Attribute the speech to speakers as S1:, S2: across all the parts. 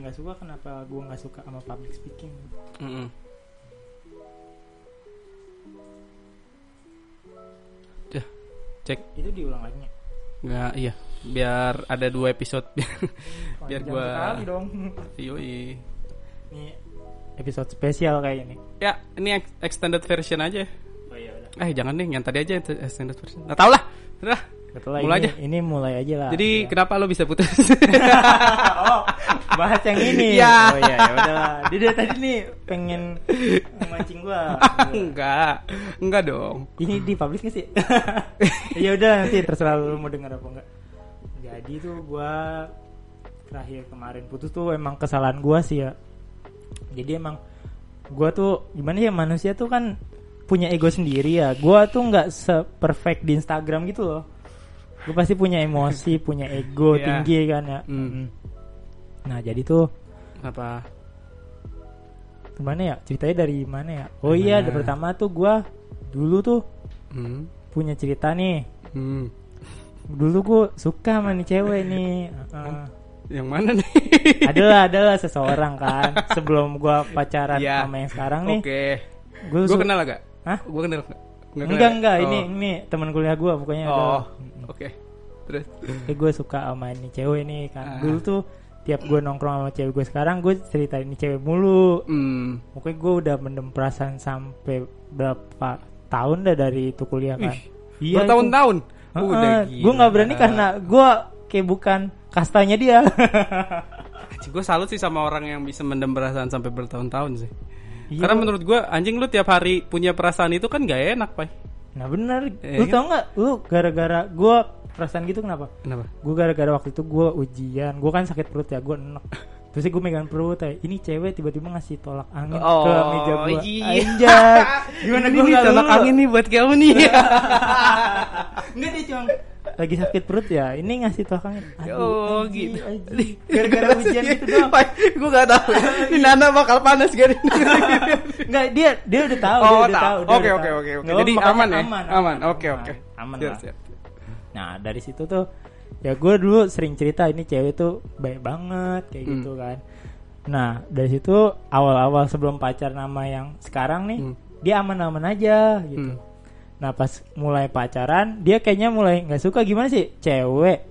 S1: nggak suka kenapa gue nggak suka sama public speaking
S2: Mm-mm. Dah, cek
S1: itu diulang lagi nggak?
S2: nggak iya biar ada dua episode Biar
S1: Panjang
S2: gua-
S1: sekali dong
S2: Yoi.
S1: ini episode spesial kayak ini
S2: ya ini ex- extended version aja
S1: oh iya udah
S2: eh jangan nih yang tadi aja itu extended version nggak tau lah Udah.
S1: Ketelah
S2: Mulai
S1: ini,
S2: aja.
S1: ini mulai aja lah
S2: jadi
S1: Ya.
S2: kenapa lo bisa putus
S1: oh bahas yang ini
S2: Iya.
S1: oh iya ya udahlah dia dari tadi nih pengen memancing gua
S2: enggak enggak dong
S1: ini di publish nggak sih ya udah nanti terserah lu mau denger apa enggak jadi tuh gua terakhir kemarin putus tuh emang kesalahan gua sih ya jadi emang gua tuh gimana ya manusia tuh kan punya ego sendiri ya gua tuh nggak se-perfect di Instagram gitu loh gue pasti punya emosi punya ego
S2: Iya.
S1: tinggi kan ya
S2: Hmm.
S1: nah jadi tuh
S2: apa
S1: gimana ya ceritanya dari mana ya oh
S2: Dari
S1: iya
S2: mana?
S1: pertama tuh gua dulu tuh
S2: hmm.
S1: punya cerita nih
S2: Hmm.
S1: dulu gue suka sama nih cewek nih Heeh.
S2: yang mana nih
S1: adalah adalah seseorang kan sebelum gue pacaran
S2: Iya.
S1: sama yang sekarang nih
S2: oke
S1: gue
S2: gue kenal gak
S1: Hah?
S2: gue kenal gak
S1: enggak enggak ini ini teman kuliah gue pokoknya
S2: oh
S1: ada
S2: oke terus
S1: gue suka sama nih cewek nih kan
S2: Ah.
S1: dulu tuh tiap gue nongkrong sama cewek gue sekarang gue ceritain nih cewek mulu
S2: hmm.
S1: pokoknya gue udah mendem perasaan sampai berapa tahun dah dari itu kuliah kan itu.
S2: bertahun-tahun udah gila
S1: gue Ah, nggak berani karena gue kayak bukan kastanya dia
S2: gue salut sih sama orang yang bisa mendem perasaan sampai bertahun-tahun sih
S1: Iya,
S2: Karena
S1: gua-
S2: menurut gua anjing lu tiap hari punya perasaan itu kan gak enak, Pak.
S1: Nah bener,
S2: Iya
S1: lu
S2: kan?
S1: tau nggak? Lu gara-gara gue perasaan gitu kenapa?
S2: Kenapa?
S1: Gue gara-gara waktu itu gue ujian, gue kan sakit perut ya, gue enek. Terus gue megang perut ya, ini cewek tiba-tiba ngasih tolak angin ke
S2: Oh,
S1: meja gue.
S2: iya.
S1: Anjay, gimana gue nggak Iya.
S2: tolak
S1: lulu?
S2: angin nih buat kamu nih.
S1: Nggak dia cuma lagi sakit perut ya, ini ngasih tolak angin. Aduh,
S2: oh
S1: anjing,
S2: gitu.
S1: anjing. Gara-gara ujian gitu doang. Iya.
S2: Pak, gua gak tahu. Ini Nana bakal panas gak ini?
S1: Nggak, dia dia udah tahu, dia
S2: oh,
S1: udah
S2: tahu.
S1: tahu. dia
S2: Oke,
S1: udah
S2: oke,
S1: tahu.
S2: oke, oke.
S1: Nggak apa-apa,
S2: Jadi
S1: makanya
S2: aman ya. Aman. Oke,
S1: aman,
S2: oke.
S1: Aman
S2: Siap,
S1: lah.
S2: siap.
S1: Nah dari situ tuh ya gue dulu sering cerita ini cewek tuh baik banget kayak
S2: Hmm.
S1: gitu kan. Nah dari situ awal-awal sebelum pacar nama yang sekarang nih
S2: Hmm.
S1: dia aman-aman aja gitu.
S2: Hmm.
S1: Nah pas mulai pacaran dia kayaknya mulai nggak suka gimana sih cewek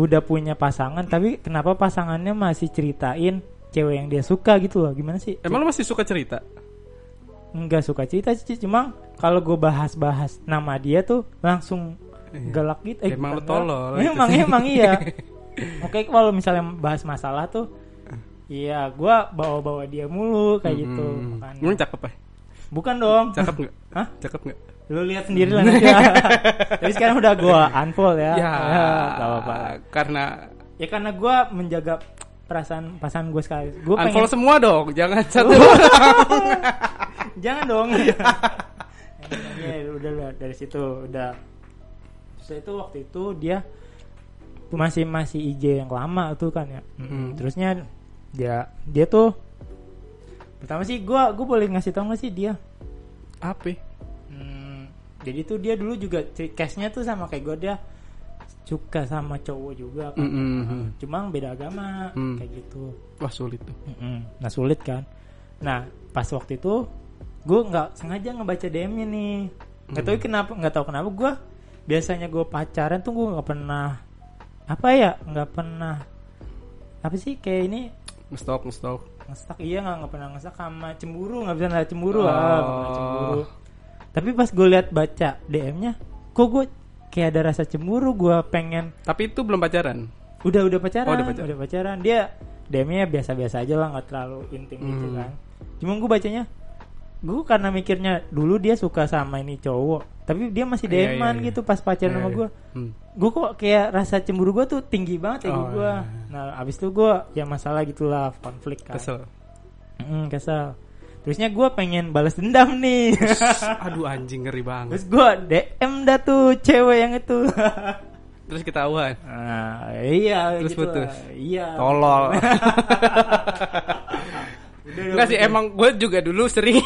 S1: udah punya pasangan tapi kenapa pasangannya masih ceritain cewek yang dia suka gitu loh gimana sih?
S2: Emang lu masih suka cerita?
S1: nggak suka cerita sih cuma kalau gue bahas-bahas nama dia tuh langsung galak gitu
S2: Iya.
S1: bukan
S2: Emang lu tolol
S1: galak.
S2: gitu
S1: emang
S2: sih.
S1: emang iya oke kalau misalnya bahas masalah tuh
S2: Ah.
S1: iya gue bawa-bawa dia mulu kayak gitu
S2: Hmm.
S1: Makanya.
S2: Emang cakep, Pak?
S1: bukan dong
S2: Cakep nggak?
S1: Hah?
S2: Cakep nggak?
S1: lu lihat sendiri lah nanti ya. tapi sekarang udah gue unfold ya nggak apa-apa
S2: Karena
S1: ya karena gue menjaga perasaan pasangan gue sekali gue pengen
S2: unfollow semua dong, jangan satu.
S1: jangan dong
S2: Iya.
S1: ya, udah lah, dari situ udah terus itu waktu itu dia masih masih IG yang lama tuh kan ya
S2: Hmm.
S1: terusnya
S2: Ya.
S1: dia dia tuh pertama sih gua gue boleh ngasih tau gak sih dia
S2: Apa? ya?
S1: Hmm, jadi tuh dia dulu juga ciri- case-nya tuh sama kayak gue dia suka sama cowok juga kan
S2: Mm-mm.
S1: cuma beda agama
S2: Hmm.
S1: kayak gitu
S2: Wah, sulit tuh.
S1: Mm-mm. Nah sulit kan. Nah pas waktu itu gue nggak sengaja ngebaca DM-nya nih. Nggak tahu kenapa, nggak tahu kenapa gue biasanya gue pacaran tuh gue nggak pernah apa ya nggak pernah apa sih kayak ini
S2: Ngestok, ngestok.
S1: ngestak iya nggak nggak pernah ngestak sama cemburu nggak bisa nggak cemburu
S2: Oh.
S1: ah, nggak pernah cemburu tapi pas gue lihat baca DM-nya kok gue kayak ada rasa cemburu gue pengen
S2: Tapi itu belum pacaran.
S1: udah udah pacaran,
S2: Oh,
S1: udah
S2: udah
S1: pacaran
S2: pacaran.
S1: dia DM-nya biasa-biasa aja lah nggak terlalu intim gitu
S2: Hmm.
S1: kan cuma gue bacanya gue karena mikirnya dulu dia suka sama ini cowok tapi dia masih
S2: Iya,
S1: deman
S2: iya, iya.
S1: gitu pas pacaran
S2: Iya,
S1: sama
S2: iya.
S1: gue
S2: Hmm.
S1: gue kok kayak rasa cemburu gue tuh tinggi banget ya
S2: Oh,
S1: gue
S2: iya.
S1: nah abis itu gue ya masalah gitulah konflik kan
S2: Kesel.
S1: Mm, kesel terusnya gue pengen balas dendam nih
S2: Aduh anjing ngeri banget.
S1: terus gue DM dah tuh cewek yang itu
S2: Terus ketahuan.
S1: Nah, iya
S2: Ah. Terus
S1: gitu
S2: putus.
S1: lah. iya
S2: Tolol.
S1: Udah, udah,
S2: Enggak sih emang gue juga dulu sering.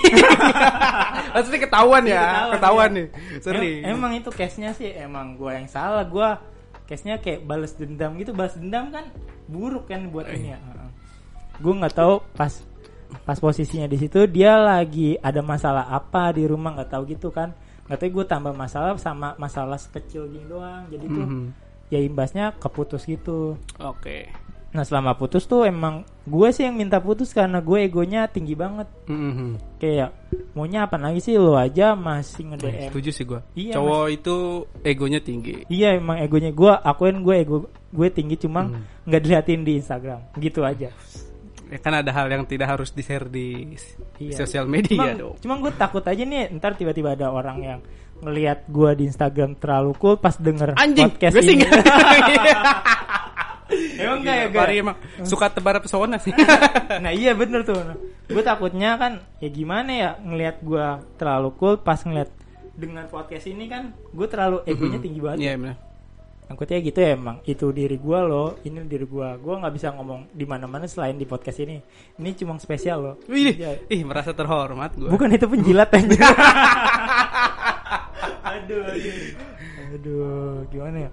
S2: Maksudnya ketahuan
S1: Ketahuan,
S2: ya, ketahuan
S1: iya.
S2: nih. Sering.
S1: Em- emang itu case-nya sih emang gua yang salah. Gua case-nya kayak balas dendam gitu. Balas dendam kan buruk kan buat ini ya. Heeh. gue nggak tahu pas pas posisinya di situ dia lagi ada masalah apa di rumah nggak tahu gitu kan nggak tahu gue tambah masalah sama masalah sekecil gini doang jadi tuh
S2: Mhm.
S1: ya imbasnya keputus gitu
S2: Oke.
S1: nah selama putus tuh emang gue sih yang minta putus karena gue egonya tinggi banget
S2: Mhm.
S1: kayak maunya apa lagi sih lo aja masih nge DM
S2: Setuju sih gua.
S1: Iya,
S2: Cowok itu egonya tinggi.
S1: Iya emang egonya gue akuin gue ego gue tinggi cuma
S2: Hmm.
S1: nggak diliatin di Instagram gitu aja.
S2: Ya kan ada hal yang tidak harus di share di s- di
S1: Iya.
S2: sosial media
S1: Cuma,
S2: dong.
S1: cuma gue takut aja nih ntar tiba-tiba ada orang yang ngelihat gue di Instagram terlalu cool pas denger
S2: Anjing,
S1: podcast
S2: gue sih
S1: ini.
S2: nggak-
S1: emang nggak ya
S2: Gila,
S1: Gar?
S2: Fahri emang suka tebar pesona sih.
S1: Nah iya bener tuh. Gue takutnya kan ya gimana ya ngelihat gue terlalu cool pas ngelihat dengan podcast ini kan gue terlalu egonya tinggi banget.
S2: Iya, benar.
S1: Angkutnya gitu ya emang itu diri gue loh, ini diri gue. Gue nggak bisa ngomong di mana-mana selain di podcast ini. Ini cuma spesial loh.
S2: Wih,
S1: Iya.
S2: ih merasa terhormat gua.
S1: Bukan itu penjilat aja. aduh, aduh. Aduh, gimana ya?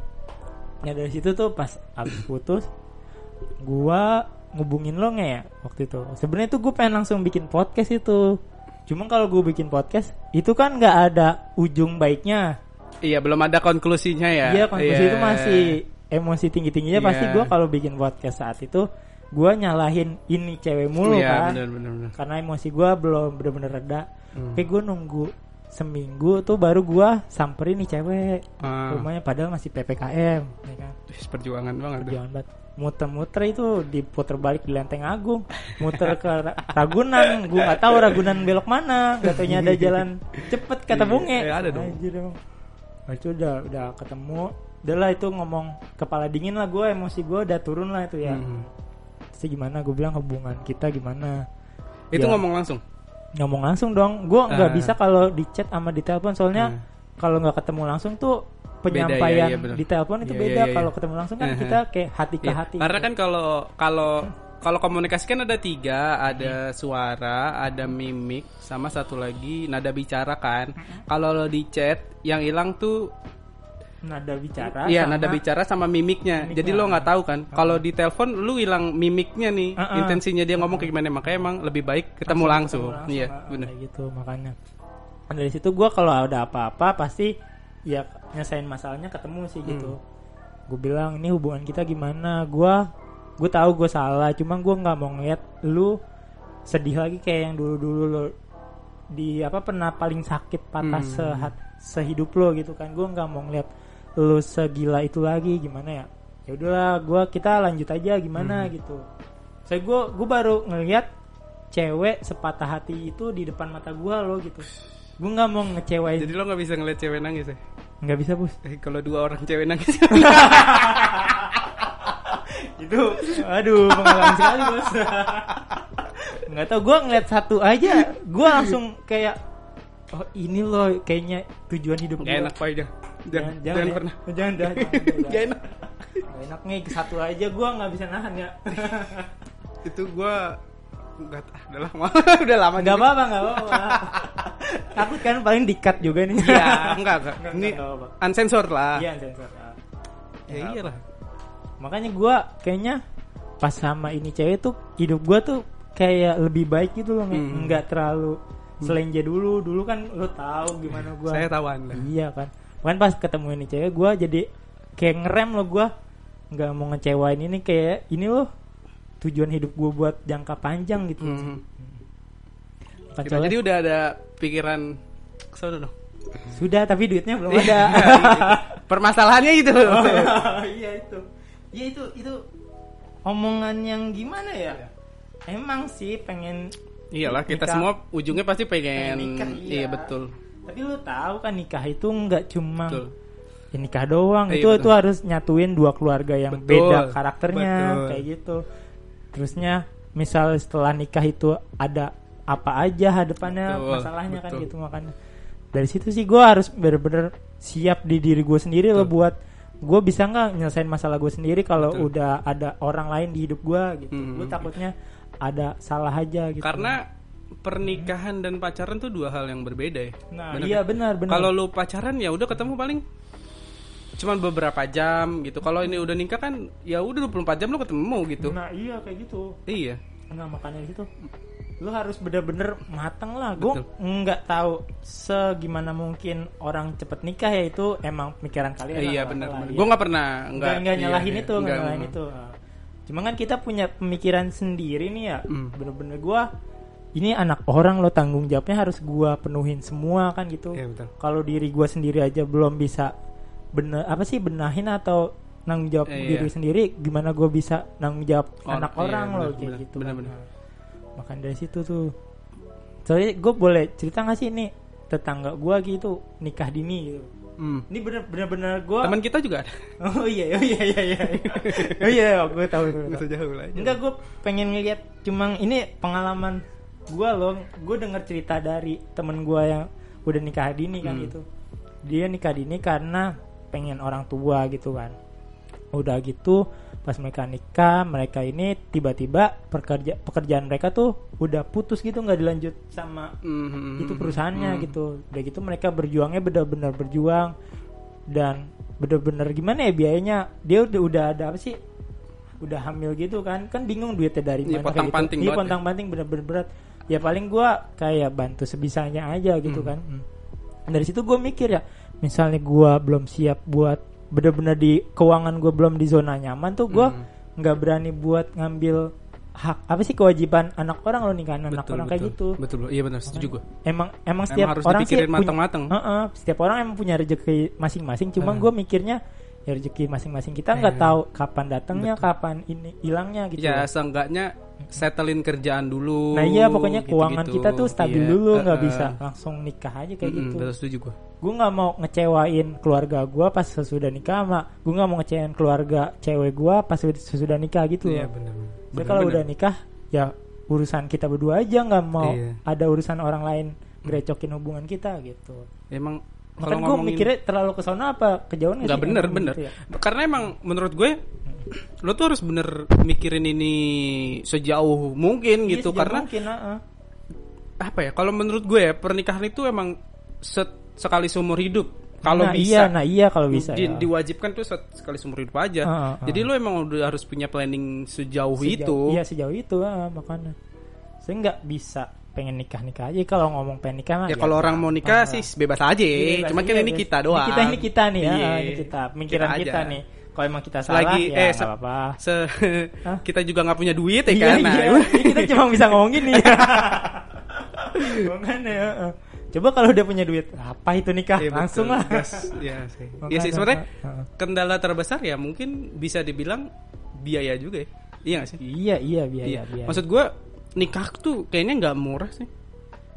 S1: Nah dari situ tuh pas abis putus, gua ngubungin lo nggak ya waktu itu? Sebenarnya tuh gue pengen langsung bikin podcast itu. Cuma kalau gue bikin podcast, itu kan nggak ada ujung baiknya.
S2: Iya, belum ada konklusinya ya.
S1: Iya, konklusi
S2: Iya.
S1: itu masih emosi tinggi-tingginya. Pasti
S2: Iya.
S1: gua kalau bikin podcast saat itu, gua nyalahin ini cewek mulu
S2: Iya,
S1: kan
S2: benar benar benar.
S1: karena emosi gue belum bener-bener reda
S2: Hmm.
S1: tapi gue nunggu seminggu tuh baru gue samperin nih cewek
S2: Ah.
S1: rumahnya padahal masih ppkm ya kan
S2: Ih, perjuangan banget. tuh.
S1: jangan banget muter-muter itu diputer balik di Lenteng Agung muter ke Ra- Ragunan gue nggak tahu Ragunan belok mana gak taunya ada jalan cepet kata
S2: Iya,
S1: bunge
S2: iya, ada dong.
S1: Anjir, emang. Nah, itu udah udah ketemu udah lah itu ngomong kepala dingin lah gue emosi gue udah turun lah itu ya
S2: Hmm.
S1: Terus gimana gue bilang hubungan kita gimana
S2: Itu
S1: Ya
S2: ngomong langsung.
S1: ngomong langsung dong gue nggak
S2: Ah.
S1: bisa kalau di chat sama di telepon soalnya
S2: Ah.
S1: kalau nggak ketemu langsung tuh
S2: Beda,
S1: penyampaian
S2: iya, iya, bener.
S1: di telepon itu
S2: Iya,
S1: beda
S2: iya, iya.
S1: kalau ketemu langsung kan
S2: Aha.
S1: kita kayak hati ke
S2: Iya,
S1: hati
S2: Karena kan kalau kalau kalau komunikasi kan ada tiga, ada
S1: Iya.
S2: suara, ada mimik, sama satu lagi nada bicara kan. Kalau lo di chat, yang hilang tuh
S1: nada bicara
S2: iya
S1: sama-
S2: nada bicara sama mimiknya.
S1: Mimiknya.
S2: Jadi lo nggak tahu kan. Kalau di telepon lu hilang mimiknya nih,
S1: Ah, ah.
S2: intensinya dia ngomong kayak gimana. Makanya emang lebih baik ketemu langsung.
S1: Ketemu
S2: Iya,
S1: ah,
S2: benar.
S1: kayak gitu makanya Dan dari situ gue kalau ada apa-apa pasti ya nyesain masalahnya ketemu sih
S2: Hmm.
S1: gitu gue bilang ini hubungan kita gimana gue gue tahu gue salah cuma gue nggak mau ngeliat lu sedih lagi kayak yang dulu-dulu lo di apa pernah paling sakit patah
S2: Hmm.
S1: sehat sehidup lo gitu kan gue nggak mau ngeliat lu segila itu lagi gimana ya ya udahlah gue kita lanjut aja
S2: Hmm.
S1: gimana gitu saya gue gue baru ngeliat cewek sepatah hati itu di depan mata gue lo gitu gue nggak mau ngecewain
S2: Jadi lo nggak bisa ngeliat cewek nangis ya.
S1: nggak bisa bos
S2: Eh, kalau dua orang cewek nangis.
S1: Iya. itu aduh pengalaman sekali bos nggak tau gue ngeliat satu aja gue langsung kayak oh ini loh kayaknya tujuan hidup
S2: Gak
S1: gua.
S2: enak pak jangan, jangan, jangan,
S1: ya.
S2: pernah.
S1: jangan dah, jangan, dah,
S2: Gak
S1: jangan.
S2: enak.
S1: Nggak enak nih satu aja gue nggak bisa nahan ya
S2: Itu gua nggak ah, udah lama, udah lama.
S1: nggak
S2: juga.
S1: apa-apa nggak apa-apa takut kan paling dikat juga nih
S2: Iya, enggak, enggak.
S1: Enggak,
S2: Ini
S1: enggak, enggak apa-apa.
S2: uncensored lah.
S1: iya sensor Ah.
S2: Ya iyalah.
S1: makanya gue kayaknya pas sama ini cewek tuh hidup gue tuh kayak lebih baik gitu loh nggak-
S2: Hmm.
S1: nggak terlalu selenja dulu dulu kan lo tahu gimana gue
S2: Saya tahu Anda.
S1: iya kan kan pas ketemu ini cewek gue jadi kayak ngerem lo gue nggak mau ngecewain ini kayak ini loh tujuan hidup gue buat jangka panjang gitu
S2: Hmm.
S1: Bukan
S2: Gitu,
S1: soalnya-
S2: jadi udah ada pikiran ke sana dong. gitu.
S1: sudah tapi duitnya belum Oh,
S2: Iya.
S1: ada
S2: Permasalahannya itu.
S1: iya itu ya itu itu omongan yang gimana ya
S2: Iya.
S1: emang sih pengen
S2: Iyalah, kita
S1: Nikah.
S2: semua ujungnya pasti
S1: pengen
S2: pengen.
S1: nikah
S2: Iya, betul.
S1: tapi lu tahu kan nikah itu nggak cuma
S2: Betul.
S1: ya nikah doang
S2: Iya,
S1: itu
S2: betul.
S1: itu harus nyatuin dua keluarga yang
S2: Betul.
S1: beda karakternya
S2: Betul.
S1: kayak gitu terusnya misal setelah nikah itu ada apa aja hadapannya
S2: Betul,
S1: masalahnya kan
S2: betul.
S1: gitu makanya dari situ sih gue harus bener-bener siap di diri gue sendiri loh buat gue bisa nggak nyelesain masalah gue sendiri kalau udah ada orang lain di hidup gue gitu
S2: Hmm.
S1: gue takutnya ada salah aja gitu
S2: Karena pernikahan dan pacaran tuh dua hal yang berbeda ya.
S1: nah
S2: Bener
S1: iya
S2: kan?
S1: benar benar
S2: Kalau lu pacaran ya udah ketemu paling cuman beberapa jam gitu. Kalau ini udah nikah kan ya udah 24 jam lu ketemu gitu.
S1: nah iya kayak gitu
S2: Iya.
S1: nggak makanya gitu lu harus bener-bener mateng lah gue nggak tahu segimana mungkin orang cepet nikah ya itu emang pemikiran kalian lah,
S2: iya
S1: kalau
S2: benar.
S1: nggak salah,
S2: benar.
S1: iya.
S2: Gue nggak pernah
S1: nggak nggak
S2: iya,
S1: nyalahin
S2: iya.
S1: itu nggak
S2: Nggak,
S1: nyalahin
S2: mm.
S1: itu Ah. cuma kan kita punya pemikiran sendiri nih ya
S2: Mm.
S1: bener-bener gua ini anak orang lo tanggung jawabnya harus gua penuhin semua kan gitu
S2: Iya, betul.
S1: kalau diri gua sendiri aja belum bisa bener apa sih benahin atau nanggung jawab
S2: Iya,
S1: diri
S2: iya.
S1: sendiri gimana gua bisa nanggung jawab
S2: Or-
S1: anak
S2: iya,
S1: orang lo
S2: bener,
S1: kayak
S2: bener,
S1: gitu
S2: bener, bener.
S1: makan dari situ tuh soalnya gue boleh cerita nggak sih ini tetangga gua gitu nikah dini gitu
S2: Mm.
S1: ini bener bener bener gue
S2: Teman kita juga ada.
S1: Oh iya, oh iya, iya, iya. oh iya, gue tahu. gua tahu.
S2: Nggak usah jauh lah. ya.
S1: Enggak, gue pengen ngeliat. Cuma ini pengalaman gue loh. Gue denger cerita dari temen gue yang udah nikah dini kan
S2: Hmm.
S1: gitu. Dia nikah dini karena pengen orang tua gitu kan. Udah gitu, pas mereka nikah, mereka ini tiba-tiba pekerja pekerjaan mereka tuh udah putus gitu, nggak dilanjut sama
S2: Mm,
S1: itu
S2: mm,
S1: perusahaannya
S2: mm.
S1: gitu udah gitu mereka berjuangnya benar-benar berjuang dan benar-benar gimana ya biayanya dia udah udah ada apa sih udah hamil gitu kan kan bingung duitnya dari
S2: Iya,
S1: mana kayak
S2: pontang-panting
S1: gitu. iya
S2: banget
S1: pontang panting benar-benar berat ya paling gua kayak bantu sebisanya aja gitu kan Dan dari situ gue mikir ya misalnya gua belum siap buat benar-benar di keuangan gue belum di zona nyaman tuh gua
S2: Mm.
S1: nggak berani buat ngambil hak apa sih kewajiban anak orang loh nikahan anak
S2: Betul,
S1: orang
S2: betul.
S1: kayak gitu
S2: Betul, iya benar setuju gue.
S1: emang emang
S2: Emang
S1: setiap
S2: harus
S1: orang sih
S2: dipikirin
S1: punya-
S2: matang-matang.
S1: Heeh, setiap orang emang punya rezeki masing-masing cuma
S2: Ah.
S1: gue mikirnya ya rezeki masing-masing kita nggak
S2: Eh.
S1: tahu kapan datangnya kapan ini hilangnya gitu
S2: Ya seenggaknya setelin kerjaan dulu.
S1: nah iya pokoknya keuangan
S2: gitu-gitu.
S1: kita tuh stabil
S2: Iya,
S1: dulu nggak
S2: eh, eh.
S1: bisa langsung nikah aja kayak
S2: Mm, mm,
S1: gitu
S2: Betul setuju gue.
S1: gue nggak mau ngecewain keluarga gue pas sesudah nikah sama gue nggak mau ngecewain keluarga cewek gue pas sesudah nikah gitu
S2: Iya
S1: loh.
S2: benar.
S1: Jadi kalau udah nikah ya urusan kita berdua aja nggak mau
S2: Iya. Mm.
S1: ada urusan orang lain gerecokin hubungan kita gitu
S2: emang
S1: Makan
S2: kalau
S1: gue
S2: ngomongin
S1: mikirnya terlalu ke sana apa kejauhan nggak
S2: nggak
S1: sih?
S2: bener
S1: Emang
S2: bener
S1: gitu ya?
S2: karena emang menurut gue lo tuh harus bener mikirin ini sejauh
S1: Iya,
S2: mungkin gitu
S1: sejauh
S2: karena
S1: mungkin, heeh.
S2: apa ya kalau menurut gue ya pernikahan itu emang set- sekali seumur hidup kalau
S1: nah, iya,
S2: bisa
S1: nah iya kalau bisa
S2: Di-
S1: ya.
S2: diwajibkan tuh set- sekali seumur hidup aja
S1: Ah, ah,
S2: jadi lo emang udah harus punya planning sejauh,
S1: Sejauh-
S2: itu
S1: Iya sejauh itu heeh, makanya. Saya nggak bisa pengen nikah nikah aja kalau ngomong pengen nikah mah
S2: ya kalau orang mau nikah
S1: gampang
S2: sih
S1: lah.
S2: bebas aja
S1: Ah, Iya,
S2: cuma
S1: iya,
S2: kan ini
S1: iya.
S2: kita doang
S1: Ini kita ini kita nih ya,
S2: Iya.
S1: ini kita pemikiran kita,
S2: aja.
S1: nih. Kalau emang kita salah ya
S2: Selagi- eh,
S1: nggak
S2: se-
S1: apa-apa.
S2: Se-
S1: Hah?
S2: kita juga nggak punya duit
S1: Ah.
S2: ya
S1: Iya,
S2: kan Nah,
S1: iya. Ini kita cuma bisa ngomong gini. Makanya heeh. Coba kalau udah punya duit, apa itu nikah?
S2: Iya,
S1: ah, Langsung
S2: betul.
S1: lah.
S2: Gas. Iya sih. Iya
S1: Makanya,
S2: sih sebenarnya
S1: heeh.
S2: kendala terbesar ya mungkin bisa dibilang biaya juga ya. Iya gak sih?
S1: Iya, iya, biaya,
S2: iya.
S1: biaya.
S2: Maksud gue nikah tuh kayaknya nggak murah sih.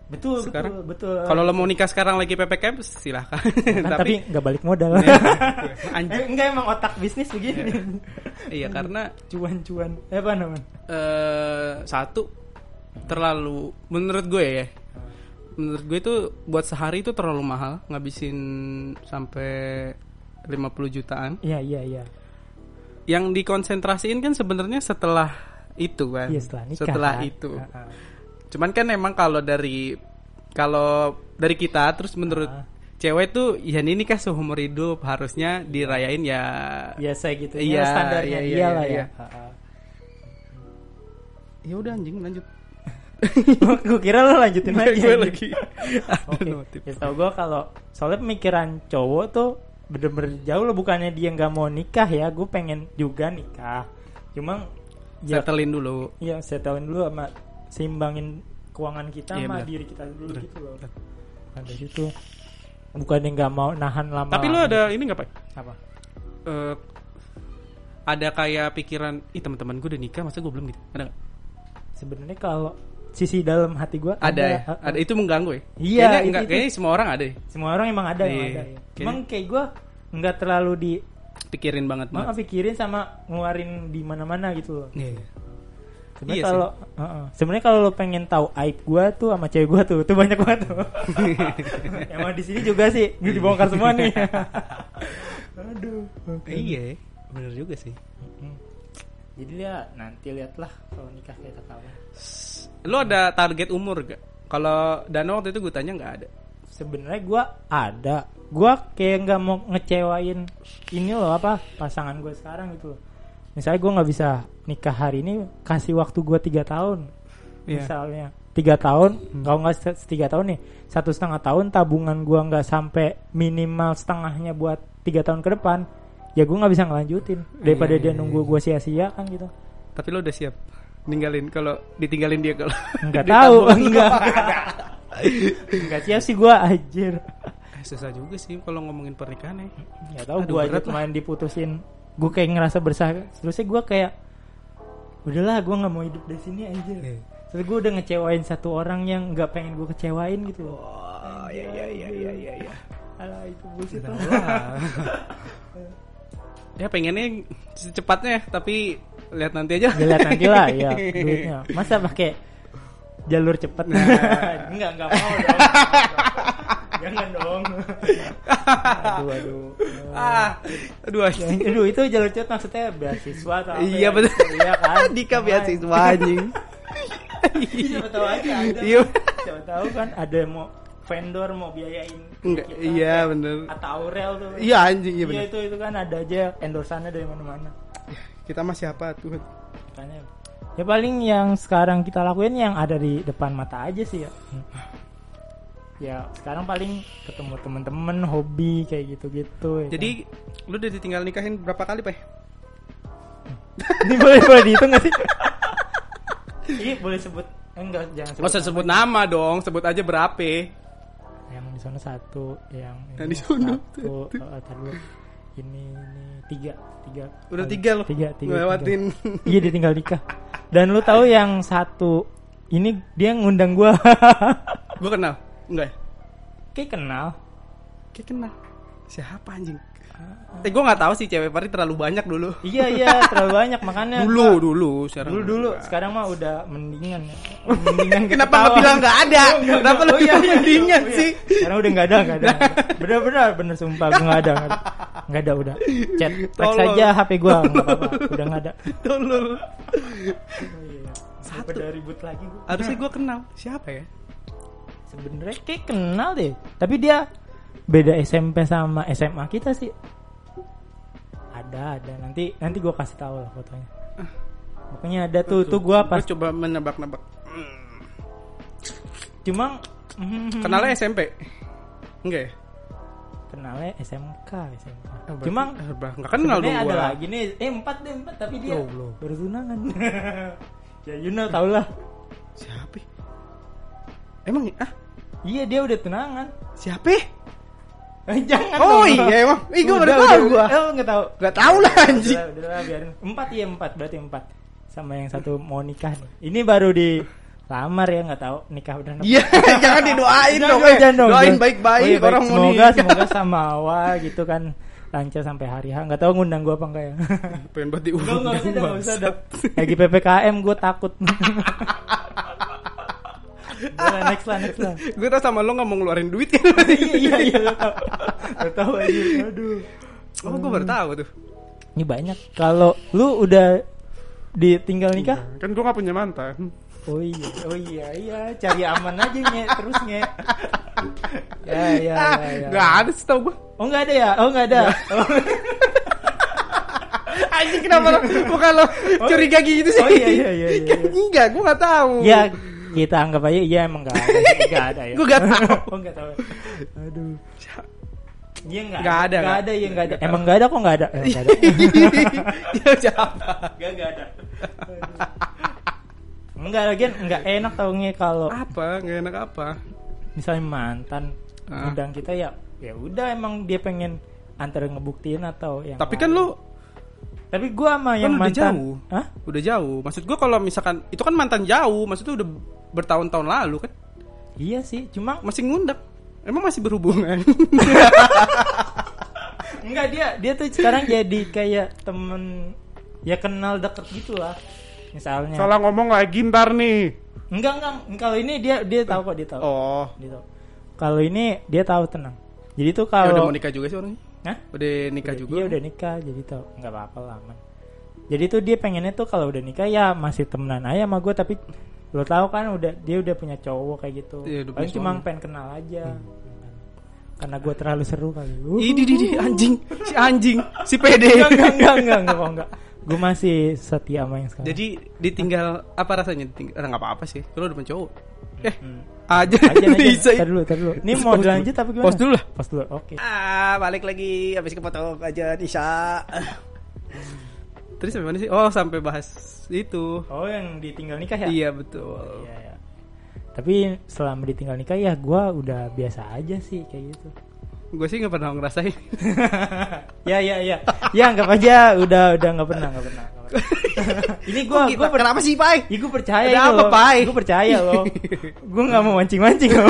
S1: betul,
S2: sekarang,
S1: betul, betul.
S2: Kalau lo mau nikah sekarang lagi PPKM silahkan.
S1: Kan, tapi nggak balik modal.
S2: anjir.
S1: Eh, enggak emang otak bisnis begini.
S2: Iya karena
S1: Cuan-cuan. Eh apa namanya?
S2: eh satu terlalu menurut gue ya. Menurut gue itu buat sehari itu terlalu mahal ngabisin sampai 50 jutaan.
S1: Iya, iya, iya.
S2: yang dikonsentrasiin kan sebenarnya setelah itu kan.
S1: Iya, setelah nikah.
S2: Setelah
S1: kan.
S2: itu.
S1: Heeh.
S2: Cuman kan emang kalau dari kalau dari kita terus menurut
S1: Ah.
S2: cewek tuh ya ini nikah seumur hidup harusnya dirayain ya.
S1: Biasa gitu. Iya,
S2: Iya,
S1: standarnya
S2: iya, iya,
S1: dia lah
S2: iya,
S1: ya.
S2: iya.
S1: Heeh.
S2: Ya udah anjing lanjut.
S1: Gue kira lo lanjutin lagi.
S2: gue
S1: anjing.
S2: lagi. ada
S1: Oke.
S2: notif.
S1: Ya tau gue kalau soalnya pemikiran cowok tuh bener-bener jauh lo bukannya dia nggak mau nikah ya, gue pengen juga nikah. Cuma ya
S2: Setelin dulu.
S1: Iya, settle dulu sama seimbangin keuangan kita
S2: Iya,
S1: sama
S2: benar.
S1: diri kita dulu gitu loh.
S2: benar.
S1: Ada situ. Bukannya nggak mau nahan lama.
S2: Tapi lu ada ini nggak pak?
S1: apa?
S2: Eh, ada kayak pikiran, ih teman-teman gue udah nikah masa gue belum gitu. Ada nggak?
S1: Sebenarnya kalau sisi dalam hati gua
S2: Ada, ya?
S1: eh, eh.
S2: ada itu mengganggu ya.
S1: Iya,
S2: Kayaknya
S1: itu-
S2: nggak-
S1: itu.
S2: kayaknya semua orang ada ya.
S1: Semua orang emang ada yang ada
S2: Iya,
S1: ya.
S2: kayaknya.
S1: Emang kayak gua nggak terlalu di
S2: Pikirin banget banget.
S1: maaf pikirin sama ngeluarin di mana-mana gitu loh.
S2: Iya.
S1: Sebenarnya
S2: Iya sih.
S1: kalau eh, eh. sebenarnya kalau lo pengen tahu aib gua tuh sama cewek gua tuh, tuh banyak banget tuh. emang di sini juga sih, gue dibongkar semua nih. Aduh. oke.
S2: Iya, bener juga sih.
S1: Mm. Jadi ya nanti lihatlah kalau nikah kayak kata apa.
S2: Lu ada target umur gak? Kalau Dano waktu itu gue tanya nggak ada.
S1: Sebenarnya gue ada, gue kayak nggak mau ngecewain ini loh apa pasangan gue sekarang gitu loh. misalnya gue nggak bisa nikah hari ini kasih waktu gue tiga tahun misalnya tiga tahun kalau nggak se- tiga tahun nih satu setengah tahun tabungan gue nggak sampai minimal setengahnya buat tiga tahun ke depan ya gue nggak bisa ngelanjutin daripada dia nunggu gue sia-sia kan gitu
S2: Tapi lo udah siap ninggalin kalau ditinggalin dia kalau
S1: nggak tahu enggak nggak siap sih gue anjir
S2: Eh, susah juga sih kalau ngomongin pernikahan ya.
S1: nggak tahu
S2: Aduh,
S1: gue aja
S2: berat lah.
S1: main diputusin gue kayak ngerasa bersalah terusnya gue kayak udahlah gue nggak mau hidup di sini anjir
S2: Iya.
S1: Terus gue udah ngecewain satu orang yang nggak pengen gue kecewain gitu loh.
S2: Oh, iya iya iya iya iya. iya.
S1: Alah itu bullshit lah.
S2: ya pengennya secepatnya tapi lihat nanti aja.
S1: Dilihat nanti lah ya duitnya. Masa pakai jalur cepet?
S2: Nah.
S1: enggak, enggak mau dong. Jangan dong. aduh, aduh.
S2: ah, aduh.
S1: Jangan- Ya, Aduh, itu jalur cepet maksudnya beasiswa atau apa
S2: Iya
S1: ya?
S2: betul.
S1: Iya kan?
S2: Dika beasiswa anjing.
S1: Siapa tahu aja ada.
S2: Iya.
S1: Siapa tahu kan ada yang mau vendor mau biayain
S2: Enggak,
S1: kita.
S2: iya bener.
S1: Atau Aurel tuh.
S2: Iya anjing iya
S1: Iya
S2: bener.
S1: itu itu kan ada aja endorsannya dari mana-mana.
S2: Kita mah siapa tuh?
S1: Makanya ya paling yang sekarang kita lakuin yang ada di depan mata aja sih ya. Ya sekarang paling ketemu temen-temen hobi kayak gitu-gitu. ya
S2: Jadi lu udah ditinggal nikahin berapa kali, Pak?
S1: kan? ini boleh boleh dihitung gak sih? Iya boleh sebut Eh, enggak jangan sebut.
S2: Nggak usah sebut nama dong, sebut aja berapa.
S1: Yang di sana satu, yang ini
S2: Yang di sana
S1: satu, eh, tar dulu. ini ini tiga tiga.
S2: Udah
S1: kali.
S2: tiga lu.
S1: Tiga tiga. tiga.
S2: Ngelewatin.
S1: Iya ditinggal nikah. Dan lu tahu yang satu ini dia ngundang gua.
S2: Gue kenal. Enggak. ya?
S1: Kayak kenal.
S2: Kayak kenal. Siapa anjing? Eh gue nggak tahu sih cewek Pari terlalu banyak dulu.
S1: Iya iya terlalu banyak makanya
S2: Dulu Iya, dulu sekarang.
S1: dulu dulu sekarang mah udah mendingan ya. Mendingan
S2: Kenapa
S1: ketawa.
S2: lo bilang nggak ada? Kenapa lo
S1: Oh, iya,
S2: bilang
S1: iya,
S2: mendingan
S1: iya.
S2: sih?
S1: Sekarang udah nggak ada nggak ada. Bener bener bener sumpah gue nggak ada nggak ada. Nggak ada udah. Chat teks
S2: Tolong.
S1: aja HP gue nggak apa-apa udah nggak ada.
S2: Tolol.
S1: Satu ribut lagi gue.
S2: Harusnya gue kenal. Nah. Siapa ya?
S1: Sebenernya kayak kenal deh. Tapi dia beda SMP sama SMA kita sih. Ada ada nanti nanti gue kasih tahu lah fotonya. Pokoknya ada tuh tuh gue pas
S2: Gue coba menebak-nebak.
S1: cuma mm,
S2: Kenalnya SMP. Enggak ya?
S1: kenalnya SMK SMK
S2: Ah, berarti-
S1: cuma
S2: ah, bah, nggak kenal dong Oh,
S1: sebenarnya ada
S2: gue.
S1: lagi nih eh empat deh empat tapi dia
S2: Loh, loh.
S1: baru tunangan ya you know tau lah
S2: Siapa? ya? Emang ah
S1: iya dia udah tunangan
S2: siapa? ya?
S1: Eh, jangan
S2: Oh
S1: dong.
S2: iya emang. Ih gue baru
S1: Udah,
S2: tahu
S1: udah,
S2: gue.
S1: udah. oh nggak tahu
S2: Gak tau lah anjing.
S1: udah, udah lah, biarin empat iya empat berarti empat sama yang satu mau nikah nih ini baru di lamar ya nggak tahu nikah udah
S2: Iya, jangan didoain
S1: Jangan
S2: dong.
S1: dong,
S2: eh.
S1: jangan dong,
S2: Doain
S1: jangan. Oh,
S2: baik-baik
S1: iya, baik.
S2: orang mau
S1: semoga
S2: nikah.
S1: semoga sama awal gitu kan lancar sampai hari H nggak tahu ngundang gua apa enggak ya
S2: Pengen buat
S1: Enggak, enggak usah, enggak usah,
S2: diundang.
S1: Dok. Lagi PPKM gue takut. Udah, next lah, next lah.
S2: Gue tau sama lo gak mau ngeluarin duit ya.
S1: Iya, iya, iya, lo tau. Lo tau aja, aduh.
S2: Oh, gue
S1: Hmm.
S2: baru tahu tuh.
S1: Ini banyak. Kalau lu udah ditinggal nikah?
S2: Kan gue gak punya mantan.
S1: Oh iya, oh iya, iya. Cari aman aja, nge. Terus, nge. Ya, ya,
S2: Ah,
S1: ya, ya.
S2: gak ada sih tau gue.
S1: Oh, nggak ada ya? Oh, nggak ada. Oh,
S2: Anjing kenapa lo muka lo curiga gitu sih?
S1: oh iya, iya, iya, iya.
S2: Kan enggak, gue gak tahu.
S1: Ya, kita anggap aja iya emang nggak ada. Nggak ada ya.
S2: Gua nggak tahu.
S1: Oh, nggak tahu. Aduh. Iya nggak
S2: Nggak ada,
S1: nggak
S2: nggak-
S1: ada, iya nggak ada.
S2: nggak
S1: Emang nggak ada kok nggak ada. Emang nggak ada.
S2: Iya, Ya siapa?
S1: Nggak nggak ada. Enggak lagi enggak enak tau nge kalau
S2: Apa? Gak enak apa?
S1: misalnya mantan
S2: Ah.
S1: undang kita ya ya udah emang dia pengen antara ngebuktiin atau yang
S2: Tapi kan lo
S1: tapi gua sama yang
S2: udah
S1: mantan
S2: jauh.
S1: Hah?
S2: udah jauh. Maksud gue kalau misalkan itu kan mantan jauh, maksudnya udah bertahun-tahun lalu kan.
S1: iya sih cuma
S2: masih ngundang emang masih berhubungan
S1: Enggak dia dia tuh sekarang jadi kayak temen ya kenal deket gitu lah misalnya.
S2: salah ngomong lagi ntar nih
S1: Enggak enggak kalau ini dia dia tahu kok dia tahu.
S2: oh
S1: Dia tahu. Kalau ini dia tahu tenang. Jadi tuh
S2: ya udah
S1: kalau
S2: mau nikah juga sih orangnya
S1: Hah?
S2: udah nikah juga kan?
S1: Dia Iya, udah nikah jadi tahu nggak apa-apa lah aman. Jadi tuh dia pengennya tuh kalau udah nikah ya masih temenan aja sama gue tapi lo tahu kan udah dia udah punya cowok kayak gitu.
S2: Iya, udah punya
S1: Paling cuma
S2: suami. Hmm. Iya.
S1: pengen kenal aja. Karena gue terlalu seru kali. Uh.
S2: Ih, di, di, di, anjing si anjing si pede
S1: enggak enggak enggak enggak enggak, kok enggak. gue masih setia sama yang sekarang
S2: Jadi ditinggal apa rasanya? Ditinggal, ah, nggak apa-apa sih. Lu udah punya cowok. Eh,
S1: Hmm.
S2: aja
S1: aja aja
S2: bisa.
S1: tar dulu tar dulu ini mau
S2: Pause
S1: dilanjut
S2: dulu.
S1: tapi gimana
S2: Pause dulu lah.
S1: pause dulu oke
S3: Ah, balik lagi habis kepotong aja Nisa.
S2: Terus sampai mana sih? Oh, sampai bahas itu.
S1: oh yang ditinggal nikah ya
S2: Iya, betul.
S1: Iya, iya. tapi selama ditinggal nikah ya gue udah biasa aja sih kayak gitu
S2: Gue sih nggak pernah ngerasain.
S1: ya ya ya ya anggap aja udah udah nggak pernah nggak pernah, nggak pernah. ini gue
S2: Oh,
S1: gue per
S3: gitu. Kenapa sih, Pai?
S1: Ih, gue percaya
S2: gitu?
S1: ini
S2: Ada apa,
S1: loh.
S2: Pai?
S1: Gue percaya loh. gue nggak mau mancing-mancing loh.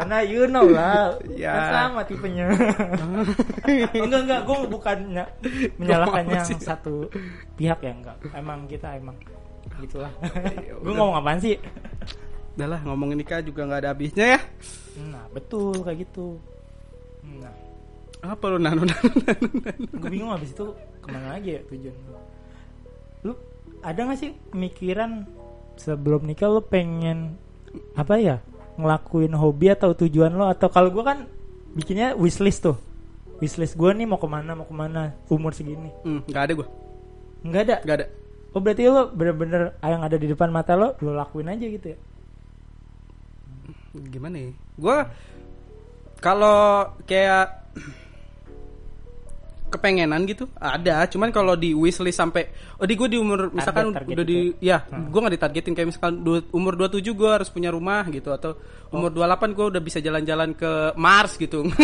S1: Karena you know lah,
S2: Ya.
S1: kan sama tipenya. enggak enggak, gue bukan nya- menyalahkan
S2: Gua mau
S1: yang
S2: sih.
S1: satu pihak ya enggak. Emang kita emang gitulah.
S2: Ya
S1: gue
S2: udah.
S1: ngomong apaan sih?
S2: Udah lah, ngomongin nikah juga nggak ada habisnya ya.
S1: Nah betul kayak gitu. Nah,
S2: Apa lu nanu nanu nanu? nanu?
S1: gue bingung abis itu kemana lagi ya tujuan lu. Lu ada gak sih pemikiran sebelum nikah lu pengen apa ya ngelakuin hobi atau tujuan lo atau kalau gue kan bikinnya wishlist tuh wishlist gue nih mau kemana mau kemana umur segini
S2: Hmm, nggak ada gue.
S1: nggak ada
S2: Nggak ada.
S1: oh berarti lo bener-bener yang ada di depan mata lo lo lakuin aja gitu ya
S2: Gimana ya? Gue kalau kayak kepengenan gitu ada cuman kalau di wishlist sampai oh di gue di umur misalkan
S1: target
S2: udah di ya
S1: Hmm.
S2: gue nggak ditargetin kayak misalkan du- umur 27 gue harus punya rumah gitu atau
S1: Oh.
S2: umur 28 gue udah bisa jalan-jalan ke Mars gitu nggak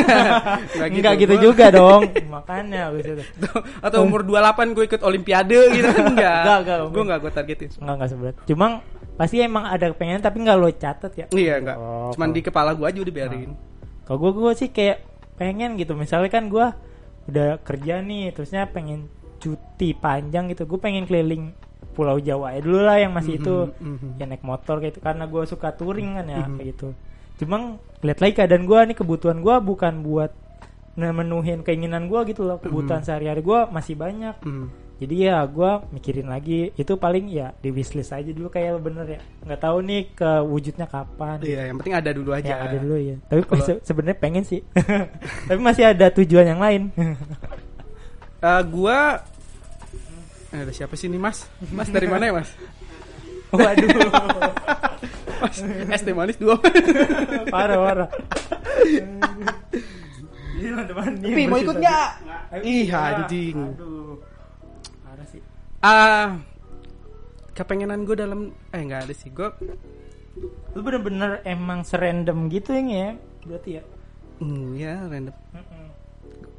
S1: nggak gitu,
S2: Gua-
S1: juga dong makanya abis itu
S2: atau umur 28 gue ikut olimpiade gitu enggak
S1: Nggak, nggak,
S2: gue nggak gue targetin
S1: nggak nggak seberat cuma pasti emang ada kepengen tapi nggak lo catet ya
S2: iya enggak
S1: Oh, Nah.
S2: cuman di kepala gue aja udah biarin
S1: Kalau gue gue sih kayak pengen gitu. Misalnya kan gue udah kerja nih, terusnya pengen cuti panjang gitu. Gue pengen keliling Pulau Jawa ya dulu lah yang masih itu
S2: mhm.
S1: ya naik motor kayak gitu. Karena gue suka touring kan ya kayak gitu. Cuma lihat lagi keadaan gue nih kebutuhan gue bukan buat memenuhin keinginan gue gitu loh. Kebutuhan sehari-hari gue masih banyak.
S2: Hmm.
S1: Jadi ya gue mikirin lagi itu paling ya di wishlist aja dulu kayak bener ya. Nggak tahu nih kewujudnya kapan.
S2: iya yang penting ada dulu aja
S1: Ya, ada dulu ya. Tapi
S2: Kalau-
S1: se- sebenarnya pengen sih. Tapi masih ada tujuan yang lain.
S2: Eh, gue eh, ada siapa sih nih mas mas dari mana ya mas
S1: Waduh,
S2: mas es teh manis dua
S1: parah parah. Iya, teman-teman.
S3: Pi, mau ikut nggak?
S2: ih anjing
S1: Aduh. Parah sih.
S2: ah kepengenan gue dalam eh nggak ada sih gue
S1: Lu bener-bener emang serandom gitu yang ya, berarti ya.
S2: hmm, ya random
S1: Mm-mm.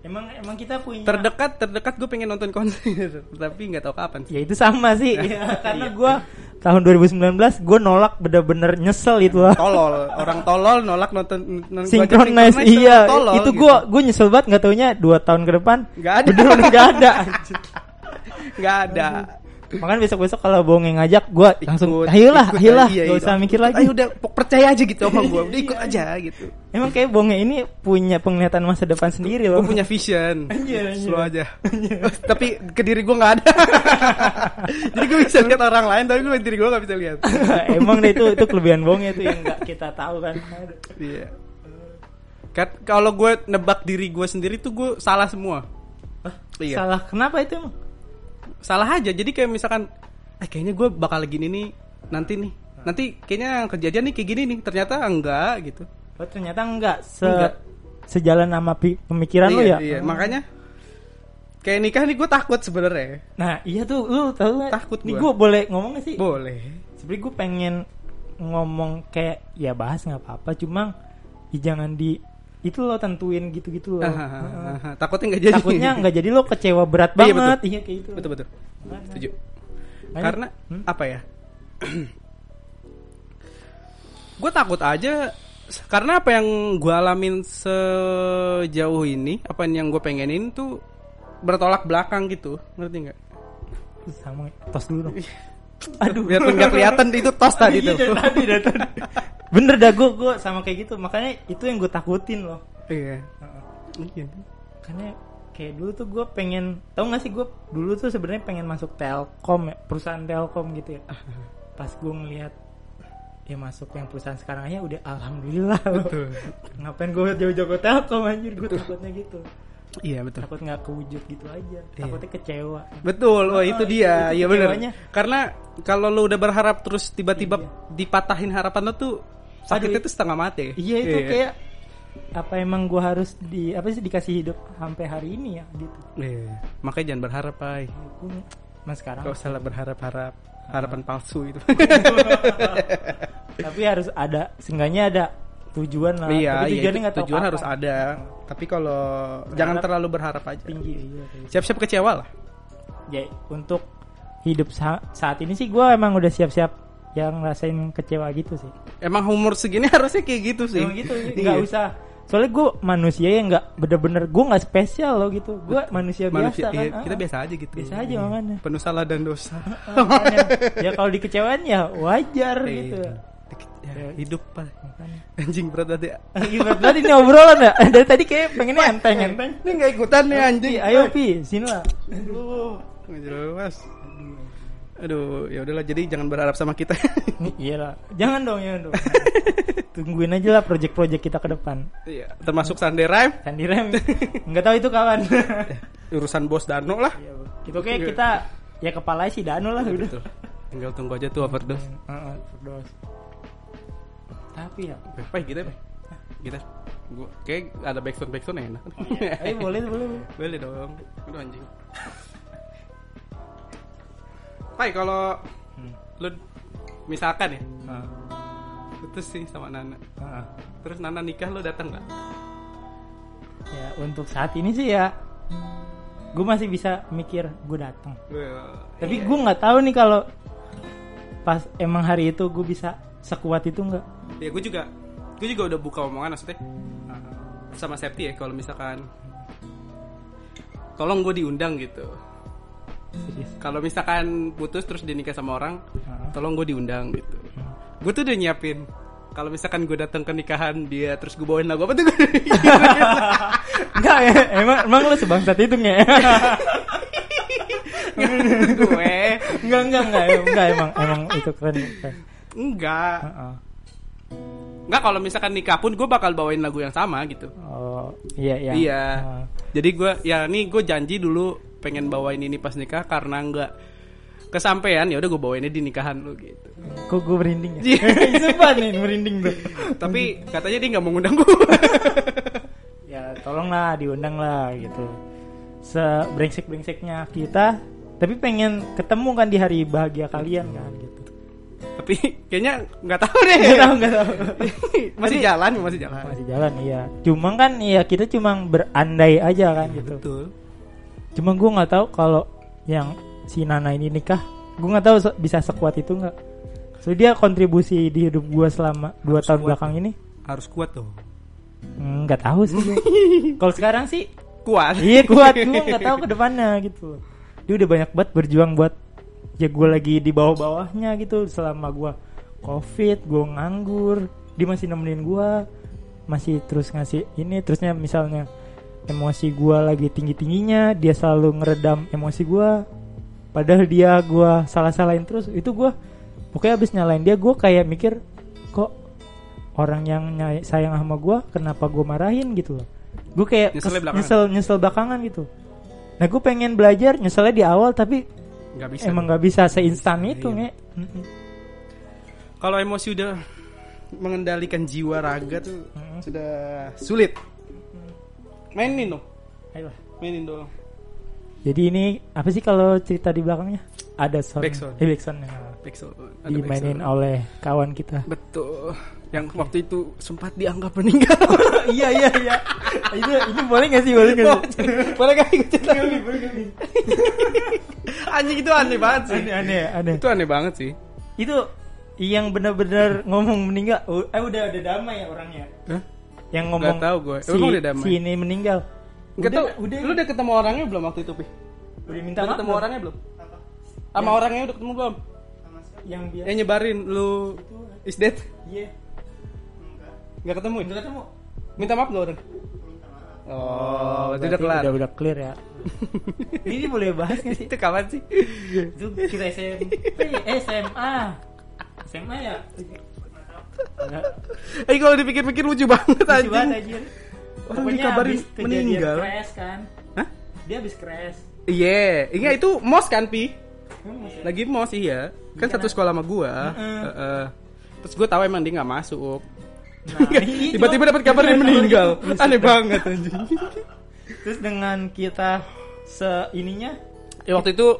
S1: Emang emang kita punya
S2: terdekat terdekat gue pengen nonton konser tapi nggak tahu kapan
S1: Ya itu sama sih. Ya, karena
S2: Iya.
S1: gua tahun 2019 gue nolak bener-bener nyesel itu lah.
S2: tolol orang tolol nolak nonton nonton
S1: Synchronize,
S2: gua aja
S1: iya
S2: tolol,
S1: itu
S2: gitu.
S1: gue gue nyesel banget nggak taunya dua tahun ke depan
S2: nggak ada
S1: beneran nggak ada
S2: nggak ada
S1: makanya besok besok kalau bohong ngajak gue langsung
S2: Ikut,
S1: ayolah
S2: ikut
S1: ayolah
S2: aja,
S1: gak
S2: iya,
S1: usah
S2: iya.
S1: mikir lagi
S2: ayo udah pok- percaya aja gitu sama gue udah ikut aja gitu
S1: emang kayak bohongnya ini punya penglihatan masa depan sendiri loh
S2: gue punya vision
S1: Anjir, anjir.
S2: slow aja tapi ke diri gue nggak ada jadi gue bisa lihat orang lain tapi gue diri gue nggak bisa lihat
S1: emang deh itu itu kelebihan bohongnya itu yang nggak kita tahu kan
S2: iya Kat- kalau gue nebak diri gue sendiri tuh gue salah semua iya
S1: salah kenapa itu emang
S2: salah aja jadi kayak misalkan eh kayaknya gue bakal gini nih nanti nih nanti kayaknya yang kejadian nih kayak gini nih ternyata enggak gitu
S1: oh ternyata enggak se
S2: Enggak.
S1: sejalan sama pi- pemikiran
S2: iya,
S1: lo ya
S2: iya. makanya kayak nikah nih gue takut sebenarnya
S1: nah iya tuh lu tahu nggak?
S2: Takut
S1: nih
S2: gua.
S1: gue boleh ngomong gak sih
S2: boleh
S1: sebenernya gue pengen ngomong kayak ya bahas nggak apa-apa cuma ih, jangan di itu lo tentuin gitu-gitu loh Heeh.
S2: takutnya nggak jadi
S1: takutnya nggak jadi lo kecewa berat
S2: Iya, betul.
S1: banget iya kayak gitu
S2: betul betul
S1: Makanya-
S2: setuju
S1: makanya-
S2: karena
S1: Hmm?
S2: apa ya gue takut aja karena apa yang gue alamin sejauh ini apa yang gue pengenin tuh bertolak belakang gitu ngerti nggak
S1: sama tos dulu dong
S2: aduh biar nggak kelihatan itu tos tadi
S1: Iya, dari
S2: tuh
S1: tadi, dari tadi. bener dah gue gue sama kayak gitu makanya itu yang gue takutin loh
S2: iya
S1: Heeh.
S2: Iya.
S1: karena kayak dulu tuh gue pengen tau gak sih gue dulu tuh sebenarnya pengen masuk telkom ya perusahaan telkom gitu ya pas gue ngelihat ya masuk yang perusahaan sekarang aja udah alhamdulillah loh.
S2: Betul.
S1: ngapain gue jauh-jauh ke telkom anjir gue takutnya gitu
S2: Iya betul.
S1: takut nggak kewujud gitu aja takutnya kecewa
S2: Betul, oh, itu
S1: Ah,
S2: dia,
S1: itu
S2: iya
S1: kecewanya.
S2: benar. Karena kalau lo udah berharap terus tiba-tiba dipatahin harapan lo tuh
S1: Iya.
S2: sakitnya
S1: Aduh,
S2: tuh setengah mati.
S1: iya itu kayak apa emang gua harus di apa sih dikasih hidup sampai hari ini ya gitu
S2: Iya. Makanya jangan berharap, ay.
S1: Gua- mas sekarang
S2: Gak usah lah berharap-harap
S1: Ah.
S2: harapan palsu gitu. itu.
S1: tapi harus ada seenggaknya ada tujuan lah
S2: iya,
S1: tapi
S2: iya
S1: tujuannya
S2: itu
S1: nggak tahu
S2: tujuan
S1: kapan.
S2: harus ada. Tapi kalau jangan terlalu berharap aja.
S1: tinggi iya, iya.
S2: Siap-siap kecewa lah.
S1: ya untuk hidup sa- saat ini sih gua emang udah siap-siap yang ngerasain kecewa gitu sih
S2: Emang umur segini harusnya kayak gitu sih.
S1: Emang gitu
S2: Iya.
S1: nggak usah soalnya gue manusia yang nggak bener-bener gue nggak spesial loh gitu gue manusia, biasa
S2: Manusia,
S1: kan
S2: iya,
S1: ah,
S2: kita
S1: ah.
S2: biasa aja gitu.
S1: Biasa aja makanya. Ah.
S2: Penuh salah dan dosa.
S1: Makanya, ya kalau dikecewain ya wajar gitu
S2: Iya. Ya, hidup pak. Anjing berat banget ya.
S1: Ah, Gimana tadi ini obrolan ya dari tadi kayak pengennya enteng enteng
S2: Ini gak ikutan nih anjing.
S1: Pi, iya, ayo pi sini lah
S2: Aduh, nggak jelas. Aduh, ya udahlah. Jadi jangan berharap sama kita.
S1: iya lah jangan dong jangan dong tungguin aja lah project-project kita ke depan
S2: Iya, termasuk Sunday Rhyme,
S1: Sandi rem nggak tahu itu kawan
S2: urusan bos Dano lah.
S1: Iya, Bu. itu kayak kita ya kepala si Danu lah udah
S2: Betul. Gitu. Tinggal tunggu aja tuh overdose.
S1: Heeh, overdose. tapi ya
S2: Apa ya, gitar? Pak? Gitar. Gua kayak ada backsound backsound enak.
S1: Oh, ayo Eh, boleh boleh boleh.
S2: Boleh dong. Aduh anjing. Pai kalau
S1: Hmm.
S2: lu misalkan ya,
S1: Heeh.
S2: putus sih sama Nana.
S1: Heeh.
S2: Terus Nana nikah lu datang nggak?
S1: ya untuk saat ini sih ya gue masih bisa mikir gue datang tapi gue nggak tahu nih kalau pas emang hari itu gue bisa sekuat itu nggak
S2: ya gue juga gue juga udah buka omongan maksudnya eh, sama Septi ya kalau misalkan tolong gue diundang gitu
S1: serius
S2: kalau misalkan putus terus dia nikah sama orang
S1: Heeh.
S2: tolong gue diundang gitu gue tuh udah nyiapin kalau misalkan gue datang ke nikahan dia terus gue bawain lagu apa tuh gue
S1: nggak ya, emang emang lo sebangsat itu nggak ya?
S2: gue
S1: nggak nggak nggak em- nggak, emang emang itu keren keren
S2: enggak
S1: Heeh.
S2: enggak kalau misalkan nikah pun gue bakal bawain lagu yang sama gitu
S1: oh iya iya
S2: Iya.
S1: Heeh.
S2: Jadi gue ya nih gue janji dulu pengen bawain ini pas nikah karena nggak kesampaian ya udah gue bawainnya di nikahan lu gitu.
S1: kok gue merinding ya sumpah nih merinding tuh
S2: Tapi katanya dia nggak mau ngundang gue.
S1: ya tolonglah diundang lah gitu sebrengsek brengseknya kita tapi pengen ketemu kan di hari bahagia kalian kan gitu
S2: Tapi kayaknya nggak tahu deh.
S1: nggak tahu nggak tahu
S2: masih jalan, masih jalan.
S1: masih jalan iya cuma kan ya kita cuma berandai aja kan gitu
S2: Iya, Betul.
S1: cuma gue nggak tahu kalau yang si Nana ini nikah gue nggak tahu se- bisa sekuat itu nggak so dia kontribusi di hidup gue selama dua tahun
S2: kuat.
S1: belakang ini
S2: Harus kuat dong.
S1: Hmm, nggak tahu sih gua. kalau sekarang sih
S2: Kuat.
S1: Iya kuat gue nggak tahu ke depannya gitu. Dia udah banyak banget berjuang buat ya gue lagi di bawah-bawahnya gitu selama gue covid, gue nganggur, dia masih nemenin gue, masih terus ngasih ini terusnya misalnya emosi gue lagi tinggi-tingginya, dia selalu ngeredam emosi gue. Padahal dia gue salah-salahin terus, itu gue pokoknya abis nyalain dia gue kayak mikir kok orang yang nyay- sayang sama gue kenapa gue marahin gitu loh. Gue kayak
S2: Nyeselnya
S1: kes-
S2: belakangan.
S1: nyesel nyesel belakangan gitu. Nah gue pengen belajar nyeselnya di awal tapi
S2: Nggak bisa.
S1: emang nggak bisa seinstan itu
S2: Iya.
S1: nge. Mm-mm.
S2: Kalau emosi udah mengendalikan jiwa raga tuh
S1: Mm-mm.
S2: sudah sulit. Mainin dong.
S1: Ayolah.
S2: Mainin dong.
S1: Jadi ini apa sih kalau cerita di belakangnya? Ada sound.
S2: Backsound.
S1: Eh, backsound. Nah,
S2: Pixel. Ada
S1: dimainin
S2: pixel.
S1: oleh kawan kita.
S2: Betul. Yang waktu itu sempat dianggap meninggal.
S1: iya iya iya. itu ini boleh nggak sih boleh nggak sih?
S2: Boleh kan ikut cerita? Anjing itu aneh banget sih.
S1: aneh aneh aneh.
S2: Itu aneh banget sih.
S1: Itu yang benar-benar ngomong meninggal. Oh, Eh udah udah damai ya orangnya.
S2: Hah?
S1: Yang ngomong.
S2: tahu gue.
S1: Si,
S2: Emang udah damai?
S1: si ini meninggal.
S2: Enggak
S1: Udah,
S2: tahu.
S1: Udah
S2: Lu udah ketemu orangnya belum waktu itu, Pi?
S1: udah minta
S2: Udah
S1: maaf.
S2: ketemu
S1: belum? Ya.
S2: orangnya belum? Sama orangnya udah ketemu belum?
S1: Yang biasa.
S2: Yang nyebarin lu is dead.
S1: Iya.
S2: Enggak ketemu. ya?
S1: Udah ketemu.
S2: Minta maaf lu orang. Oh, berarti udah
S1: berarti
S2: kelar.
S1: Udah udah clear ya. ini boleh bahas nggak sih?
S2: Itu kapan sih?
S1: itu kita SMP eh, SMA SMA ya
S2: Eh kalau dipikir-pikir lucu
S1: Lucu
S2: banget
S1: banget anjir
S2: anjing. Orang
S1: Pokoknya
S2: dikabarin
S1: habis kejadian
S2: meninggal.
S1: crash kan.
S2: Hah?
S1: Dia habis crash.
S2: Iya, iya itu mos kan pi?
S1: Kan masih-
S2: Lagi mos iya. Kan satu sekolah sama gua. Heeh. Terus gua tahu emang dia nggak masuk.
S1: Nah, iya,
S2: Tiba-tiba
S1: cuma-
S2: dapat kabar dia meninggal. Aneh banget anjing.
S1: Terus dengan kita seininya
S2: Ya, waktu itu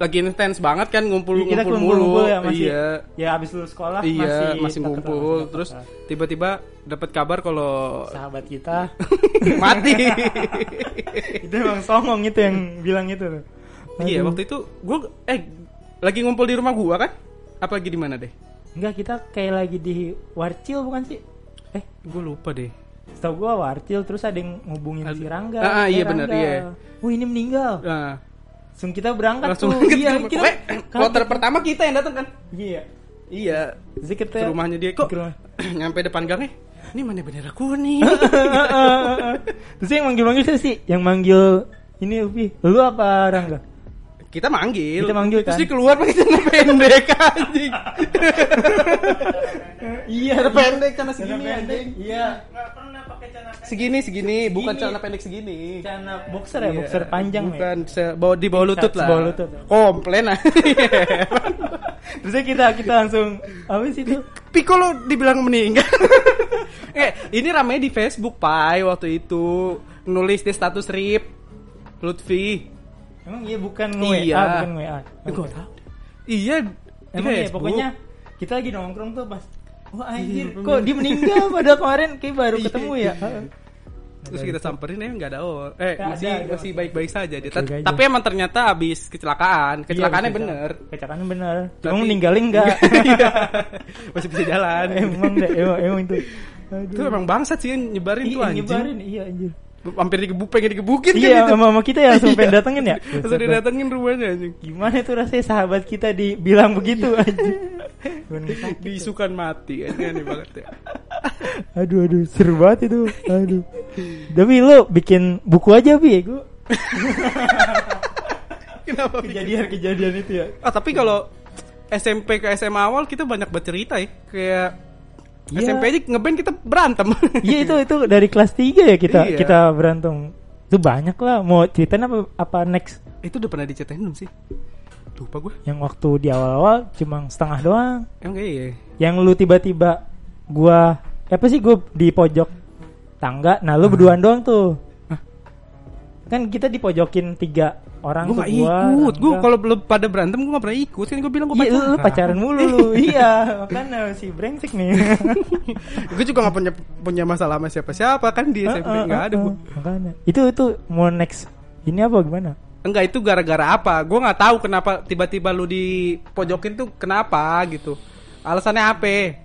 S2: lagi intens banget kan
S1: Iya, kita
S2: ngumpul-ngumpul mulu.
S1: kumpul-kumpul ya masih.
S2: Iya.
S1: Ya abis lulus sekolah
S2: Iya, masih
S1: tetap-
S2: ngumpul.
S1: tetap-
S2: Terus
S1: tetap-
S2: tiba-tiba dapat kabar kalau
S1: sahabat kita
S2: mati.
S1: itu emang songong itu yang bilang itu. tuh.
S2: Iya,
S1: Aduh.
S2: waktu itu gua eh lagi ngumpul di rumah gua kan? Apa lagi di mana deh?
S1: Enggak kita kayak lagi di Warcil bukan sih? Eh,
S2: Gua lupa deh.
S1: setahu gua Warcil terus ada yang ngubungin
S2: Ada-
S1: si Rangga.
S2: Ah,
S1: Eh,
S2: ah, iya bener,
S1: Rangga,
S2: iya.
S1: Wih, ini meninggal.
S2: Nah,
S1: Langsung kita berangkat
S2: langsung
S1: tuh.
S2: ke
S1: iya,
S2: rumah.
S1: kita
S2: Pokoknya, kloter
S1: kaget.
S2: pertama kita yang datang kan?
S1: Iya.
S2: Iya.
S1: Jadi kita
S2: Ke rumahnya dia kok
S1: Ke rumah.
S2: nyampe depan gangnya. Ini mana bendera kuning?
S1: Terus yang manggil-manggil siapa sih? Yang manggil ini Upi, lu apa Rangga?
S2: kita manggil.
S1: Kita manggil,
S2: Terus
S1: kan?
S2: dia keluar pakai celana pendek anjing.
S1: Iya,
S2: Celana pendek celana segini
S1: Iya,
S2: anjing.
S1: Iya.
S2: Segini segini, bukan celana pendek segini.
S1: Celana boxer ya,
S2: Iya,
S1: boxer panjang ya.
S2: bukan se- bawa- di bawah lutut
S1: Di
S2: lah.
S1: bawah lutut.
S2: Komplain ah. lah.
S1: Terus kita kita langsung apa sih itu?
S2: Piko lo dibilang meninggal. eh, ini ramai di Facebook, Pai, waktu itu nulis di status Rip Lutfi.
S1: Emang iya bukan
S2: Iya.
S1: WA, bukan WA.
S2: Eh, gua tahu. Iya, di
S1: Emang iya,
S2: Facebook.
S1: pokoknya kita lagi nongkrong tuh pas Wah anjir, kok dia meninggal padahal kemarin kayak baru
S2: Iya,
S1: ketemu ya.
S2: iya. Terus kita samperin eh nggak ada orang. Eh,
S1: Nggak
S2: masih
S1: ada, ada.
S2: masih baik-baik saja dia.
S1: Baik-baik
S2: Ta-
S1: aja.
S2: Tapi emang ternyata habis kecelakaan. Kecelakaannya
S1: Iya,
S2: bener.
S1: Kecelakaannya bener. Cuma
S2: Tapi-
S1: meninggalin enggak.
S2: Iya. Masih bisa jalan.
S1: emang deh, emang, emang itu. Aduh.
S2: Itu emang bangsat sih yang nyebarin
S1: Iya,
S2: tuh anjing.
S1: nyebarin, iya anjir.
S2: Hampir digebuk, pengen digebukin
S1: Iya,
S2: kan
S1: sama, sama kita ya langsung pengen datengin ya.
S2: gitu. Terus didatengin rumahnya anjing.
S1: Gimana tuh rasanya sahabat kita dibilang begitu anjir. Cuman sakit.
S2: Diisukan mati anjing aneh banget ya.
S1: aduh aduh seru banget itu. Aduh. Tapi lo bikin buku aja Bi, ya, gua
S2: Kenapa?
S1: kejadian-kejadian itu ya.
S2: Ah, tapi kalau SMP ke SMA awal kita banyak bercerita ya. Kayak
S1: Iya.
S2: SMP aja ngeband kita berantem.
S1: Iya itu itu dari kelas 3 ya kita
S2: Iya.
S1: kita berantem. Itu banyak lah mau ceritain apa apa next
S2: Itu udah pernah diceritain belum sih? Lupa gue.
S1: yang waktu di awal-awal cuma setengah doang.
S2: Emang kayak iya.
S1: Yang lu tiba-tiba gua eh, apa sih gua di pojok tangga. Nah, lu berduaan doang tuh. Kan kita dipojokin tiga orang
S2: Gue
S1: tuh
S2: gak ikut. Gue
S1: Rangga.
S2: kalau belum pada berantem gue gak pernah ikut. Kan gue bilang gue
S1: Iya, lu, lu pacaran mulu lu. iya, makanya si brengsek
S2: Iya,
S1: nih.
S2: gue juga gak punya punya masalah sama siapa-siapa kan di SMP
S1: Heeh,
S2: nggak ada
S1: heeh,
S2: gue.
S1: Makanya. Itu itu mau next ini apa gimana?
S2: Enggak itu gara-gara apa? Gue nggak tahu kenapa tiba-tiba lu dipojokin tuh kenapa gitu. Alasannya apa?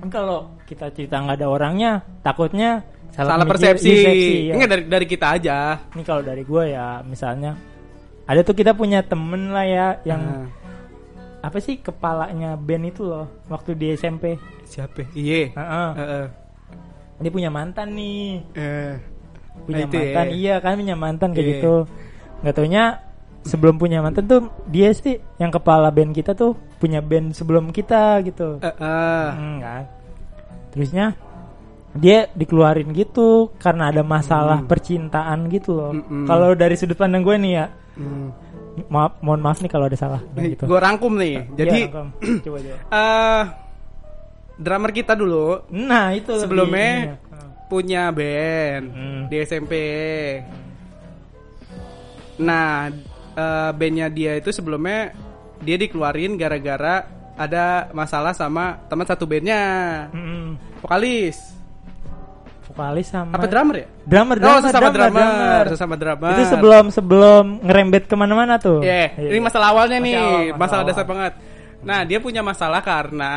S1: Kan kalau kita cerita nggak ada orangnya, takutnya salah,
S2: Salah
S1: mikir,
S2: persepsi.
S1: iya, persepsi, ya.
S2: Enggak dari dari kita aja.
S1: Ini kalau dari gue ya, misalnya ada tuh kita punya temen lah ya yang
S2: Nah,
S1: apa sih kepalanya band itu loh waktu di SMP.
S2: siapa? Iya.
S1: Heeh.
S2: Heeh.
S1: Dia punya mantan nih.
S2: Eh.
S1: punya
S2: Nah, itu
S1: mantan
S2: ya.
S1: iya kan punya mantan kayak
S2: Iya.
S1: gitu nggak taunya sebelum punya mantan tuh dia sih yang kepala band kita tuh punya band sebelum kita gitu
S2: Eh, eh.
S1: Hmm, kan terusnya dia dikeluarin gitu karena ada masalah percintaan gitu loh
S2: Hmm. Mm-mm.
S1: kalau dari sudut pandang gue nih ya
S2: Hmm.
S1: maaf mohon maaf nih kalau ada salah
S2: Nih,
S1: gitu
S2: Gue rangkum nih. Jadi
S1: Iya, Kom. coba coba
S2: eh drummer kita dulu
S1: nah itu Iya, lebih
S2: Sebelumnya,
S1: ininya.
S2: punya band
S1: Hmm.
S2: di SMP. Nah, eh, bandnya dia itu sebelumnya dia dikeluarin gara-gara ada masalah sama teman satu bandnya,
S1: Mm-mm.
S2: vokalis.
S1: vokalis sama
S2: Apa drummer ya?
S1: drummer
S2: oh,
S1: drummer
S2: sesama
S1: drummer,
S2: drummer,
S1: drummer.
S2: sesama Iya. drummer.
S1: Itu sebelum sebelum ngerembet kemana-mana tuh. Iya.
S2: Yeah, ini masalah awalnya nih,
S1: Masalah awal,
S2: masalah,
S1: masalah awal.
S2: dasar banget. Nah, dia punya masalah karena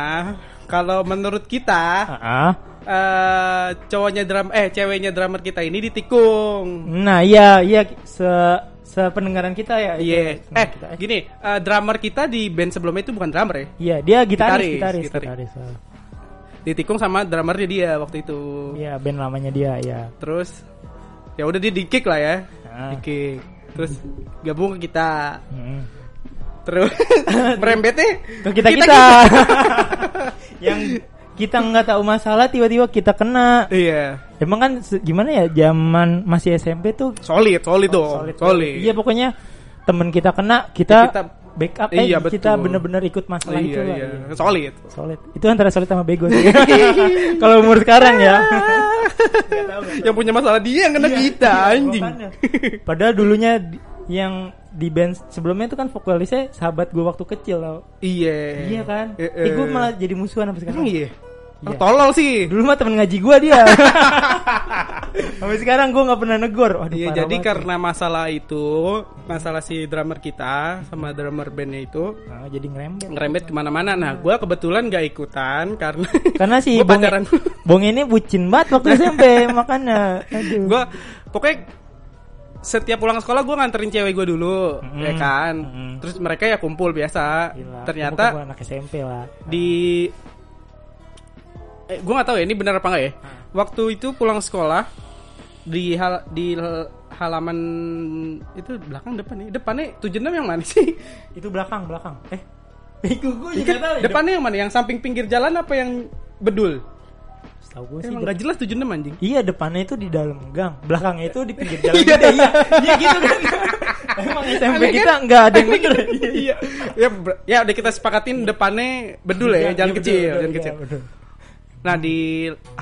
S2: kalau menurut kita
S1: Ah,
S2: eh cowoknya drum eh ceweknya drummer kita ini ditikung.
S1: Nah, iya iya se sependengaran kita ya. itu.
S2: Iya.
S1: Pendengaran
S2: Eh,
S1: kita.
S2: gini, eh, drummer kita di band sebelumnya itu bukan drummer ya.
S1: Iya, dia gitaris,
S2: Gitaris,
S1: gitaris,
S2: gitaris.
S1: gitaris. oh.
S2: Ditikung sama drummernya dia waktu itu.
S1: Iya, band lamanya dia, ya.
S2: Terus ya udah dia di-kick lah ya.
S1: Ah.
S2: Di-kick. Terus gabung ke kita.
S1: Mm.
S2: Terus merembetnya
S1: Ke kita kita. Yang kita nggak tahu masalah tiba-tiba kita kena
S2: Iya.
S1: emang kan se- gimana ya zaman masih SMP tuh
S2: Solid, solid dong. Solid.
S1: iya pokoknya temen kita kena kita,
S2: Ya, kita-
S1: backup eh,
S2: Iya,
S1: kita
S2: betul.
S1: bener-bener ikut masalah itu
S2: Iya,
S1: lah
S2: iya.
S1: Iya.
S2: Solid.
S1: solid itu antara solid sama bego sih kalau umur sekarang ya Nggak tahu, nggak
S2: Yang punya masalah dia yang kena kita anjing.
S1: Iya. Makanya. Padahal dulunya di- yang di band sebelumnya itu kan vokalisnya sahabat gue waktu kecil tau.
S2: Iya.
S1: Iya kan?
S2: Eh,
S1: Eh, gue
S2: eh.
S1: malah jadi musuhan sampai sekarang.
S2: Emang iya. Emang
S1: Iya.
S2: Tolol sih.
S1: Dulu mah temen ngaji gue dia. sampai sekarang gue nggak pernah negor. Waduh,
S2: Iya,
S1: parah
S2: jadi
S1: banget.
S2: karena masalah itu, masalah si drummer kita sama drummer bandnya itu
S1: Ah, jadi ngerembet.
S2: ngerembet kemana-mana. Nah, gue kebetulan gak ikutan karena
S1: Karena si
S2: Gua
S1: Bong,
S2: pacaran.
S1: Bong ini bucin banget waktu SMP makanya. Aduh.
S2: gue pokoknya setiap pulang sekolah gue nganterin cewek gue dulu,
S1: Mm-mm.
S2: ya kan.
S1: Mm-mm.
S2: Terus mereka ya kumpul biasa.
S1: Gila,
S2: Ternyata
S1: gua anak SMP lah.
S2: di eh, gue nggak tahu ya ini benar apa nggak
S1: Ah.
S2: ya waktu itu pulang sekolah di hal di l- halaman itu belakang depan nih depannya 76 yang mana sih
S1: Itu belakang belakang. Eh, Iku gue juga tahu. ya.
S2: depannya yang mana yang samping pinggir jalan apa yang bedul
S1: Setahu gue sih
S2: emang nggak jelas 76 anjing
S1: Iya depannya itu di dalam gang, belakangnya itu di pinggir jalan. Iya, iya, iya gitu kan. Emang SMP
S2: Aneh kan?
S1: kita nggak ada yang bener.
S2: iya ya, ber- ya udah kita sepakatin depannya bedul ya jalan
S1: betul,
S2: kecil
S1: betul,
S2: jalan
S1: iya,
S2: kecil
S1: betul.
S2: nah di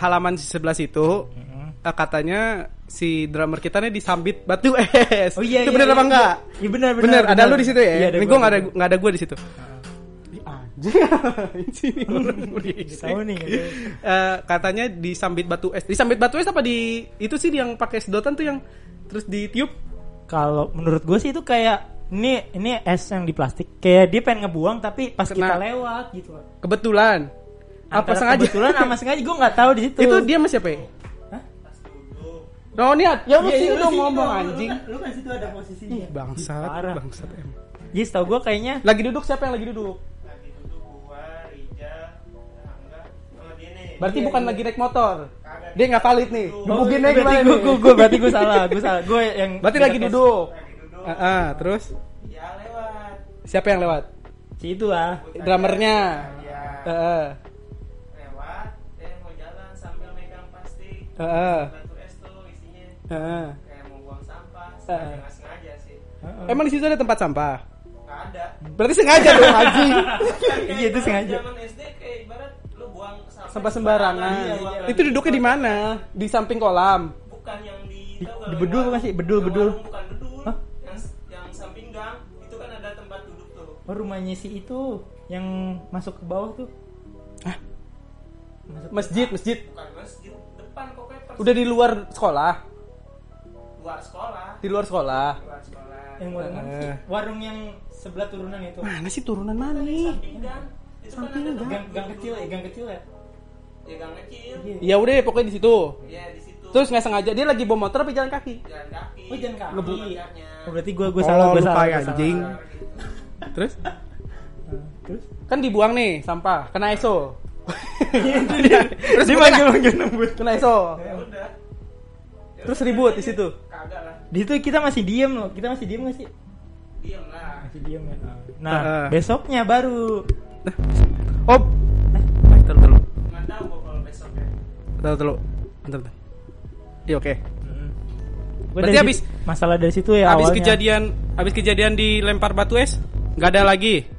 S2: halaman sebelah situ
S1: Mm-mm.
S2: eh, katanya si drummer kita nih disambit batu es
S1: Oh iya, iya,
S2: itu bener
S1: iya,
S2: apa
S1: iya.
S2: enggak
S1: Iya benar
S2: Bener, ada lu di situ ya.
S1: Iya,
S2: Ini
S1: gua,
S2: gue nggak ada nggak ada gue di situ. Ini anjing. Sini orang
S1: Nggak
S2: berisik.
S1: Tahu nih. nggak tahu.
S2: Iya, Eh, katanya disambit batu es. Disambit batu es apa di itu sih yang pakai sedotan tuh yang terus ditiup.
S1: Kalau menurut gue sih itu kayak ini ini es yang di plastik. Kayak dia pengen ngebuang tapi pas kita
S2: Kena.
S1: lewat gitu.
S2: Kebetulan. apa
S1: Antara
S2: sengaja?
S1: Kebetulan sama sengaja gue nggak tahu di situ.
S2: itu dia sama siapa ya?
S1: Hah?
S2: No, niat.
S1: Ya lu
S2: Iya,
S1: sini
S2: iya,
S1: dong lu
S2: ngomong
S1: kan-
S2: anjing.
S1: Lu kan situ ada posisinya.
S2: Bangsat,
S1: Parah.
S2: bangsat emang.
S1: Iya, setahu gue kayaknya
S2: Lagi duduk siapa yang lagi duduk?
S4: lagi duduk gua Rija Angga sama Dene Iya,
S2: Berarti bukan lagi naik motor. Dia nggak valid nih.
S4: Oh,
S2: Gebukinnya
S1: Eh, berarti
S2: gimana
S1: gua-
S2: nih?
S1: gua- gua- berarti gue salah, gue salah. Gue yang
S2: Berarti lagi duduk.
S4: lagi duduk
S2: Ah, ah, terus
S4: ya lewat
S2: siapa yang lewat?
S1: Si itu ah.
S2: Drummernya. Ah,
S4: ya
S2: Heeh.
S4: lewat dia mau jalan sambil megang plastik
S2: Heeh.
S4: batu es tuh isinya
S2: Heeh.
S4: kayak mau buang sampah sengaja
S1: Eh.
S4: nggak sengaja sih
S2: Emang di situ ada tempat sampah?
S4: nggak ada
S2: Berarti sengaja dong haji.
S1: Iya, itu
S4: Kayak
S1: sengaja.
S4: zaman SD kayak ibarat lu buang sampah,
S2: Sampah sembarangan.
S4: Iya, iya.
S2: Itu duduknya di mana? Di samping kolam.
S4: bukan yang di,
S1: Di-
S4: tahu
S1: di
S4: nggak
S1: bedul
S4: yang
S1: bukan sih?
S4: warung-
S1: Bedul,
S4: yang
S1: bedul.
S4: warung bukan bedul
S1: Hah?
S4: yang yang samping gang itu kan ada tempat duduk tuh
S1: Oh, rumahnya si itu yang masuk ke bawah tuh. Masuk
S2: Masjid, masjid.
S4: bukan masjid depan pokoknya persis
S2: Udah di luar sekolah.
S4: luar sekolah
S2: Di luar sekolah.
S4: luar sekolah
S1: yang warung mana sih?
S2: Eh.
S1: warung yang sebelah turunan itu.
S2: Mana sih turunan mana nih?
S4: samping gang itu kan ada
S1: Gang,
S4: tempat
S1: gang
S4: duduk.
S1: kecil ya, gang kecil ya.
S4: ya gang kecil
S1: Iya.
S2: Ya udah pokoknya di situ.
S4: ya di situ
S2: Terus nggak sengaja dia lagi bawa motor apa jalan kaki?
S4: jalan kaki
S1: Oh, jangan kaki.
S4: Ngebu- belajarnya.
S1: Oh, berarti gua gua
S2: Oh,
S1: salah, gua
S2: lupa
S1: salah. gua
S2: ya,
S1: salah.
S2: anjing.
S4: Luar gitu.
S2: Terus
S1: Nah, Terus
S2: kan dibuang nih sampah, kena ESO.
S1: Gitu. terus dia manggil-manggil nembus.
S2: Kena ESO.
S4: Ya udah Ya
S2: Terus
S4: udah,
S2: ribut
S4: aja.
S2: di situ?
S4: kagak lah
S1: Di situ kita masih diem loh. Kita masih diem gak sih?
S4: diem lah
S1: Masih diem ya. Nah,
S2: Ah.
S1: besoknya baru
S2: Oh. Eh, Terus terus.
S4: nggak tahu gua kalau besok ya
S2: Bentar dulu. Bentar, bentar. Iya oke.
S1: Gua
S2: Berarti
S1: dari
S2: habis-
S1: situ- masalah dari situ ya
S2: Habis
S1: awalnya.
S2: kejadian habis kejadian dilempar batu es, nggak ada lagi.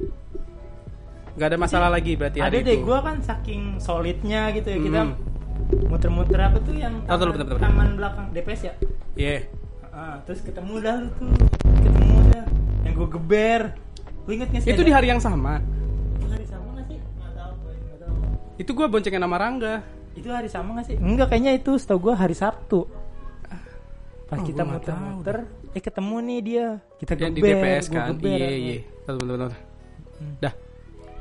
S2: Nggak ada masalah lagi berarti
S1: ada
S2: hari
S1: deh
S2: itu.
S1: gue kan saking solidnya gitu ya kita
S2: Hmm.
S1: muter-muter apa tuh yang
S2: Tahu, tahu,
S1: taman,
S2: bentar, bentar.
S1: taman belakang DPS ya
S2: Iya.
S1: Ah, terus ketemu dah lu tuh ketemu dah yang gue geber lu inget gak sih
S2: Itu
S1: ada-
S2: di hari yang sama.
S1: hari sama gak sih
S4: nggak tahu gua
S1: Nggak tahu.
S2: Itu gua boncengin sama Rangga.
S1: itu hari sama gak sih enggak kayaknya itu setahu gue hari Sabtu pas
S2: Oh,
S1: kita
S2: gua nggak tahu
S1: muter-muter eh ketemu nih dia kita
S2: Yang
S1: geber
S2: di DPS
S1: gua Hmm.
S2: kan.
S1: geber,
S2: Iya,
S1: ya.
S2: iya. Bentar, bentar, bentar. Dah.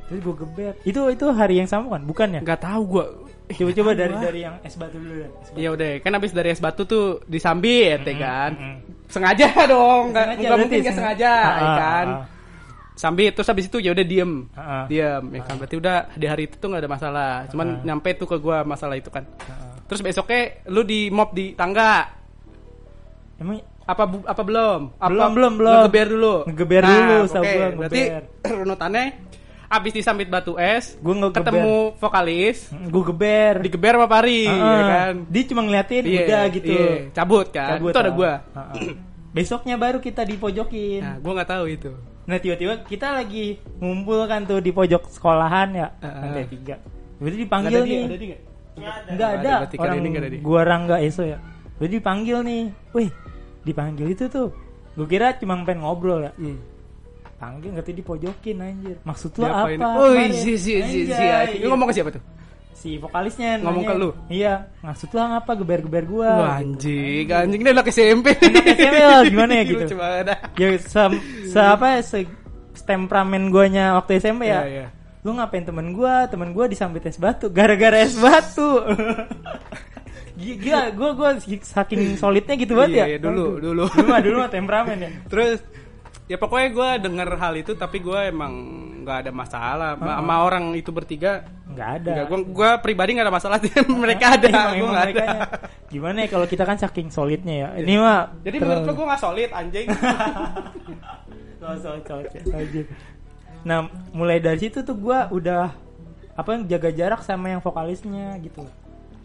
S1: terus gue geber itu itu hari yang sama kan bukan ya
S2: Nggak tahu gua.
S1: coba-coba dari dari yang es batu dulu deh. Es batu.
S2: Ya udah, kan habis dari es batu tuh
S1: Hmm,
S2: disambit ya kan. Sengaja dong, nggak
S1: Sengaja,
S2: nggak mungkin
S1: berarti
S2: nggak
S1: sengaja.
S2: sengaja, ya
S1: Ah, ah,
S2: kan.
S1: ah.
S2: Sambit terus habis itu ya udah diem.
S1: Ah, ah.
S2: Diam, ya kan berarti udah di hari itu tuh nggak ada masalah. Cuman nyampe tuh ke gua masalah itu kan.
S1: Ah,
S2: Terus besoknya lu di mob di tangga
S1: emang
S2: apa bu- apa belum? Apa
S1: Belum, belum, belum.
S2: Ngegeber dulu. Nah,
S1: Ngegeber dulu, setahu
S2: oke,
S1: gua,
S2: Berarti
S1: ngeber.
S2: runutannya abis disambit batu es,
S1: Gua ngegeber.
S2: ketemu vokalis,
S1: gue geber
S2: digeber sama Pari,
S1: Heeh.
S2: ya kan?
S1: dia cuma ngeliatin
S2: Iya,
S1: udah gitu
S2: iya. cabut kan?
S1: Cabut,
S2: itu ada
S1: ah.
S2: gua.
S1: Heeh. besoknya baru kita dipojokin
S2: Nah, gua nggak tahu itu.
S1: Nah tiba-tiba kita lagi ngumpul kan tuh di pojok sekolahan ya
S2: Heeh.
S1: lantai tiga. Jadi dipanggil
S2: Nggak ada dia,
S1: nih.
S2: ada dia nggak?
S1: Nggak
S2: Nggak
S1: ada,
S2: ada, berarti kali
S1: orang
S2: ini nggak ada dia.
S1: gua Rangga Eso ya. Jadi dipanggil nih. Wih dipanggil itu tuh. Gue kira cuma pengen ngobrol ya.
S2: Hmm.
S1: Panggil nggak tuh dipojokin anjir. Maksud lu apa?
S2: Diapain? Oh,
S1: kemarin?
S2: si si si si.
S1: Anjay.
S2: Lu ngomong ke siapa tuh?
S1: si vokalisnya
S2: Ngomong
S1: nanya.
S2: ke lu?
S1: Iya. Maksud lu apa geber-geber gua?
S2: Wah, anjing, anjing ini anak SMP.
S1: SMP lah, gimana ya gitu?
S2: Lucu banget. dah.
S1: Ya se, se apa ya, se temperamen guanya waktu SMP ya.
S2: Iya, iya.
S1: lu ngapain temen gua temen gua disambit es batu gara-gara es batu gila gua gua saking solidnya gitu banget
S2: Iya,
S1: ya
S2: iya,
S1: Aduh.
S2: dulu, dulu.
S1: dulu mah dulu mah temperamen ya
S2: Terus ya pokoknya gue denger hal itu tapi gue emang nggak ada masalah Ma- sama orang itu bertiga.
S1: nggak ada
S2: Enggak, gue gua pribadi nggak ada masalah mereka ada,
S1: Emang-
S2: gue
S1: emang
S2: nggak ada. Iya.
S1: merekanya. gimana ya kalau kita kan saking solidnya ya ini mah
S2: Jadi
S1: terlalu-
S2: menurut lo gue nggak solid anjing.
S1: Cocok, cocok, cocok. nah mulai dari situ tuh gua udah apa jaga jarak sama yang vokalisnya gitu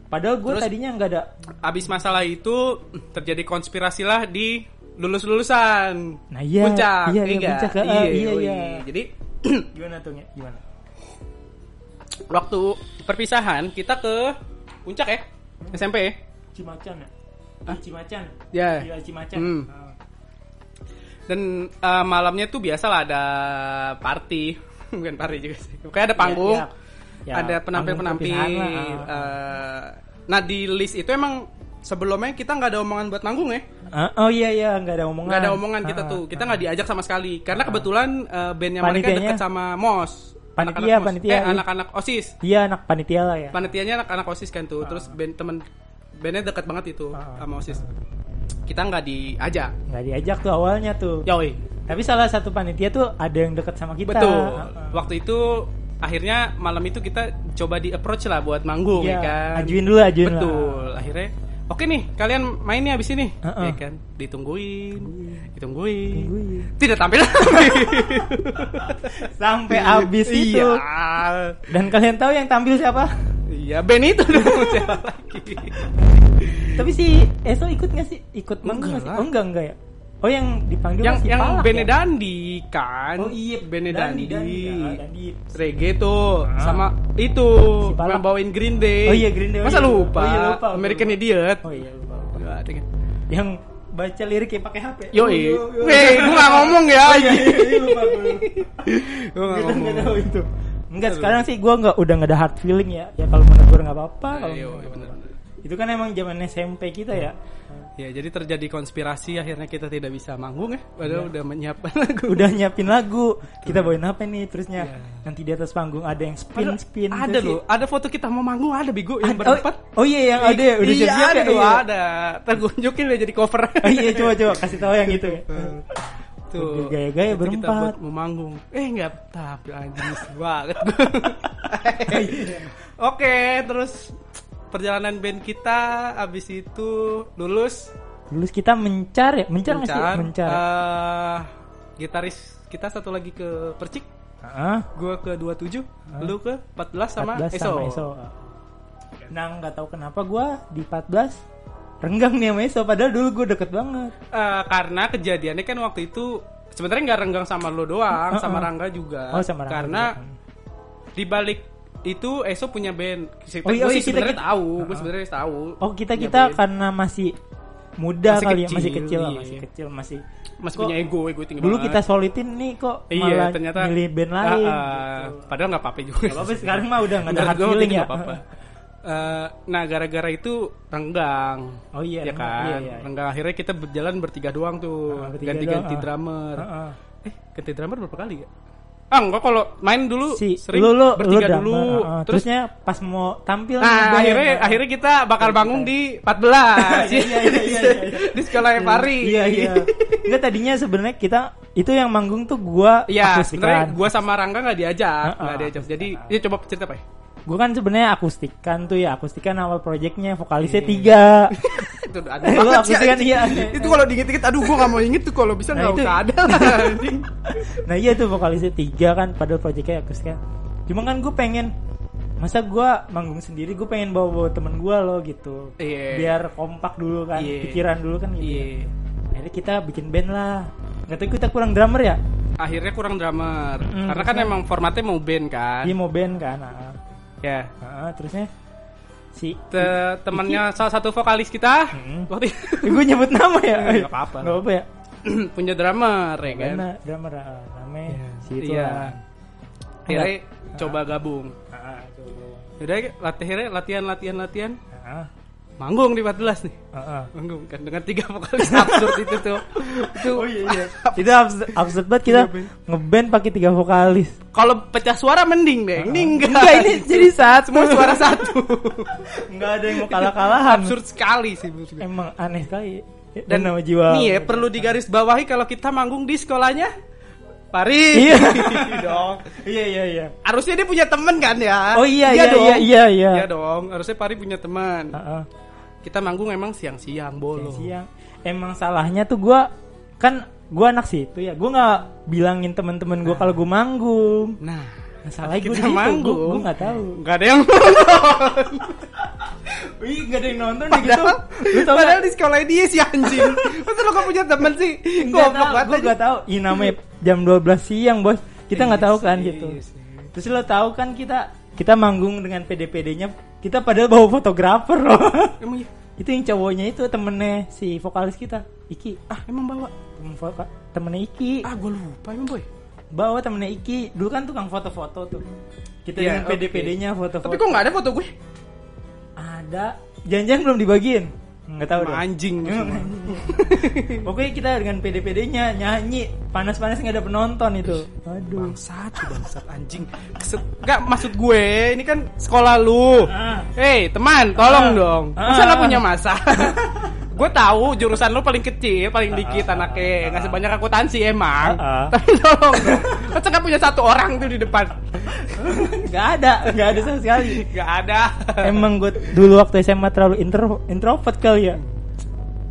S1: padahal gua
S2: Terus-
S1: tadinya nggak ada
S2: Abis masalah itu terjadi konspirasi lah di lulus lulusan.
S1: Nah, iya.
S2: Puncak,
S1: Iya, iya,
S2: nggak?
S1: puncak, ah, iya,
S2: wih.
S1: iya.
S2: Jadi Hmm.
S1: gimana tuh Nge? gimana
S2: waktu perpisahan kita ke puncak ya SMP ya.
S1: Cimacan ya
S2: Hah?
S1: Cimacan
S2: Ya.
S1: Iya, Cimacan
S2: Hmm.
S1: Ah.
S2: Dan eh, malamnya tuh biasalah ada party, bukan party juga sih. Kayak ada panggung,
S1: Ya, ya. Ya,
S2: ada penampil-penampil.
S1: panggung perpisahan lah. ah.
S2: eh, nah di list itu emang sebelumnya kita nggak ada omongan buat manggung ya,
S1: Ah, oh iya iya nggak ada omongan.
S2: nggak ada omongan kita
S1: Ah,
S2: tuh,
S1: ah.
S2: kita nggak diajak sama sekali. Karena kebetulan eh, bandnya mereka
S1: Panitianya?
S2: deket sama mos,
S1: Panitia,
S2: Anak-anak MOS.
S1: panitia,
S2: eh
S1: iya.
S2: anak-anak osis,
S1: Iya anak panitia lah ya.
S2: panitianya anak-anak osis kan tuh. Terus band temen bandnya deket banget itu
S1: Ah,
S2: sama osis. Kita nggak diajak.
S1: Nggak diajak tuh awalnya tuh.
S2: Yoi,
S1: Tapi salah satu panitia tuh ada yang deket sama kita.
S2: Betul.
S1: Ah, ah.
S2: Waktu itu akhirnya malam itu kita coba di approach lah buat manggung
S1: Iya,
S2: ya kan.
S1: ajuin dulu, ajuin lah.
S2: Betul. Akhirnya oke nih kalian main nih abis ini
S1: Heeh.
S2: ya kan. Ditungguin. Ditungguin.
S1: Tungguin.
S2: Tidak tampil.
S1: Sampai habis itu.
S2: Iya.
S1: Dan kalian tahu yang tampil siapa?
S2: Iya, Ben itu dong siapa lagi.
S1: Tapi si Eso ikut nggak sih? Ikut manggung nggak sih?
S2: Enggak
S1: Oh enggak enggak ya. Oh yang dipanggil
S2: yang
S1: si
S2: yang
S1: Palak
S2: Bene
S1: ya?
S2: Dandi kan.
S1: Oh iya
S2: Bene
S1: Dandi,
S2: Dandi.
S1: Dandi, ah, Dandi.
S2: Reggae tuh sama itu
S1: Si Palak.
S2: yang bawain Green Day.
S1: Oh iya, Green Day.
S2: Masa
S1: Oh iya.
S2: lupa?
S1: Oh iya, lupa.
S2: American Idiot.
S1: Oh iya lupa.
S2: Gua ada kan.
S1: Yang baca liriknya pakai HP.
S2: Yo,
S1: Oh,
S2: eh,
S1: yo, yo.
S2: gue gak ngomong ya. anjing.
S1: Iya, lupa gue.
S2: Gua nggak
S1: Kita nggak
S2: ngomong.
S1: tahu itu. Enggak, sekarang sih gue nggak udah nggak ada hard feeling ya. Ya kalau mau negur nggak apa-apa.
S2: Nah,
S1: Kalau
S2: iya,
S1: nggak
S2: iya,
S1: apa-apa.
S2: bener.
S1: Itu kan emang zaman SMP kita ya.
S2: Ya, jadi terjadi konspirasi akhirnya kita tidak bisa manggung ya. Padahal udah menyiapkan lagu.
S1: Udah nyiapin lagu, kita bawain apa nih terusnya? Nanti di atas panggung ada yang spin
S2: Iya. Padahal
S1: spin.
S2: ada
S1: terus
S2: loh, ada foto kita mau manggung ada bego yang
S1: Ada-
S2: berempat.
S1: Oh, oh iya yang ada ya, udah
S2: iya,
S1: siap-siap
S2: ada,
S1: ya,
S2: tuh,
S1: iya.
S2: ada. Ntar gua tunjukin deh jadi cover.
S1: Oh, iya coba coba kasih tahu yang itu. ya. Udah gaya-gaya
S2: Itu kita
S1: berempat.
S2: buat mau manggung. Eh nggak tapi anjing nyesel banget. Oke, terus perjalanan band kita abis itu lulus
S1: Lulus kita mencar ya, mencar nggak sih?
S2: Mencar.
S1: Mencar.
S2: Eh, gitaris kita satu lagi ke Percik,
S1: Heeh.
S2: gua ke 27, lu ke 14 eh, sama
S1: 14
S2: Eso.
S1: sama Eso. Nah nggak tahu kenapa gue di 14 renggang nih sama Eso. Padahal dulu gue deket banget.
S2: Eh, karena kejadiannya kan waktu itu sebenarnya nggak renggang sama lu doang, sama Rangga juga.
S1: Oh sama Rangga
S2: Eh, Karena
S1: juga.
S2: di balik itu Eso punya band. Kita,
S1: Oh iya, oh
S2: gua
S1: iya,
S2: sih
S1: kita-
S2: sebenarnya
S1: kita-
S2: tahu, gue sebenarnya tahu.
S1: Oh kita
S2: punya
S1: kita
S2: band.
S1: karena masih muda
S2: Masih
S1: kali ya
S2: kecil,
S1: masih kecil lah,
S2: iya.
S1: masih kecil masih
S2: masih
S1: kok
S2: punya ego, ego tinggi
S1: dulu
S2: banget.
S1: kita solitin nih kok malah
S2: iya, ternyata
S1: milih band
S2: Ah,
S1: lain.
S2: ah, Padahal nggak apa-apa juga.
S1: Gak apa-apa sekarang mah udah nggak ada hard
S2: Menurut gua
S1: feeling
S2: waktu itu
S1: ya.
S2: nggak apa-apa. Eh, nah gara-gara itu renggang
S1: Oh iya,
S2: ya
S1: renggang,
S2: kan
S1: iya, iya, iya.
S2: renggang akhirnya kita berjalan bertiga doang tuh
S1: Ah, bertiga
S2: ganti-ganti
S1: doang, ah.
S2: drummer
S1: Heeh.
S2: eh ganti drummer berapa kali ya ah enggak kalau main dulu
S1: Si
S2: ah. sering
S1: lu lu lu
S2: bertiga
S1: drummer,
S2: dulu
S1: heeh.
S2: terus
S1: terusnya pas mau tampil
S2: nah
S1: nih, band,
S2: akhirnya
S1: heeh.
S2: akhirnya kita bakal bangun di
S1: Iya,
S2: 14
S1: iya, iya, iya, iya.
S2: di sekolah Pari
S1: Iya iya. Enggak tadinya sebenarnya kita itu yang manggung tuh gua
S2: Iya,
S1: akustikan.
S2: sebenarnya gua sama Rangga nggak diajak,
S1: Heeh.
S2: nggak diajak. Jadi, ya coba cerita apa ya?
S1: gue kan sebenarnya akustikan tuh ya akustikan awal proyeknya
S2: Iya.
S1: vokalisnya tiga
S2: itu udah ada
S1: lu
S2: banget sih,
S1: akustikan
S2: anjing.
S1: iya
S2: itu kalau diinget-inget aduh gua nggak mau inget tuh kalau bisa
S1: Nah,
S2: nggak
S1: itu-
S2: usah ada lah anjing.
S1: nah iya tuh vokalisnya tiga kan padahal proyeknya akustikan cuma kan gue pengen masa gue manggung sendiri gue pengen bawa bawa temen gue loh gitu
S2: Iya.
S1: biar kompak dulu kan
S2: Iya.
S1: pikiran dulu kan gitu
S2: iya
S1: akhirnya kita bikin band lah nggak tahu kita kurang drummer ya
S2: akhirnya kurang drummer
S1: Mm,
S2: karena kan
S1: terusnya-
S2: emang formatnya mau band kan
S1: dia mau band kan ah.
S2: ya
S1: Ah, terusnya si
S2: Te- temannya salah satu vokalis kita
S1: Mm.
S2: waktu
S1: gue nyebut nama ya
S2: Iya, Nggak apa-apa.
S1: Nggak apa ya
S2: punya drummer ya kan
S1: Karena drummer ah, namanya si itu
S2: Iya.
S1: lah. Iya.
S2: akhirnya coba gabung
S1: Ah, coba.
S2: udah latihan latihan latihan latihan
S1: Ah,
S2: manggung di 14 nih
S1: ah, ah.
S2: manggung kan dengan tiga vokalis absurd itu tuh itu
S1: itu absurd, absurd banget
S2: Iya,
S1: kita ngeband pakai tiga vokalis
S2: kalau pecah suara mending deh ini enggak
S1: enggak ini jadi saat
S2: semua suara satu
S1: nggak ada yang mau kalah kalahan
S2: absurd sekali sih menurut gue.
S1: emang aneh sekali
S2: dan
S1: nama jiwa
S2: nih ya perlu digarisbawahi kalau kita manggung di sekolahnya Paris
S1: Iya.
S2: dong
S1: iya iya iya
S2: harusnya dia punya temen kan ya
S1: oh iya
S2: Iya
S1: iya
S2: dong.
S1: iya iya iya
S2: Iya dong harusnya Pari punya teman
S1: Ah, ah.
S2: kita manggung emang siang-siang bolo
S1: siang emang salahnya tuh gua kan gua anak situ ya gua nggak bilangin temen-temen gua kalau gua manggung
S2: nah
S1: masalah gue
S2: kita
S1: gitu
S2: manggung.
S1: gue nggak tahu
S2: nggak ada yang
S1: Wih, gak ada yang nonton
S2: padahal,
S1: Lu tau
S2: padahal di sekolah dia si anjing masa lo gak punya temen sih
S1: Gak
S2: goblok
S1: tau,
S2: banget
S1: gue gak tau Ih namanya jam 12 siang bos Kita gak
S2: Iya
S1: tahu kan
S2: sih,
S1: gitu
S2: iya sih.
S1: Terus lo tahu kan kita Kita manggung dengan PDPD-nya Kita padahal bawa fotografer loh
S2: emang iya?
S1: Itu yang cowoknya itu temennya si vokalis kita Iki
S2: ah emang bawa
S1: temen voka- Temennya Iki
S2: ah gue lupa emang boy
S1: Bawa temennya Iki Dulu kan tukang foto-foto tuh Kita dengan
S2: Iya,
S1: PDPD-nya foto-foto
S2: tapi kok nggak ada foto gue
S1: Ada Jangan-jangan belum dibagiin Gak tahu
S2: Emang
S1: deh
S2: anjing lu
S1: Emang
S2: semua.
S1: Pokoknya kita dengan PD-PD-nya nyanyi panas-panas nggak ada penonton itu. Aduh.
S2: bangsat lu bangsat anjing Keset- nggak maksud gue ini kan sekolah lu
S1: Ah.
S2: Hei teman, tolong
S1: Ah.
S2: dong. Masa
S1: Ah.
S2: lo punya masa? gue tahu jurusan lo paling kecil, paling dikit anaknya, nggak sebanyak akuntansi emang.
S1: Ah, ah.
S2: Tapi tolong dong. Masa nggak punya satu orang tuh di depan?
S1: Nggak ada, nggak ada sama sekali.
S2: Gak ada.
S1: Emang gue dulu waktu SMA terlalu intro introvert kali ya.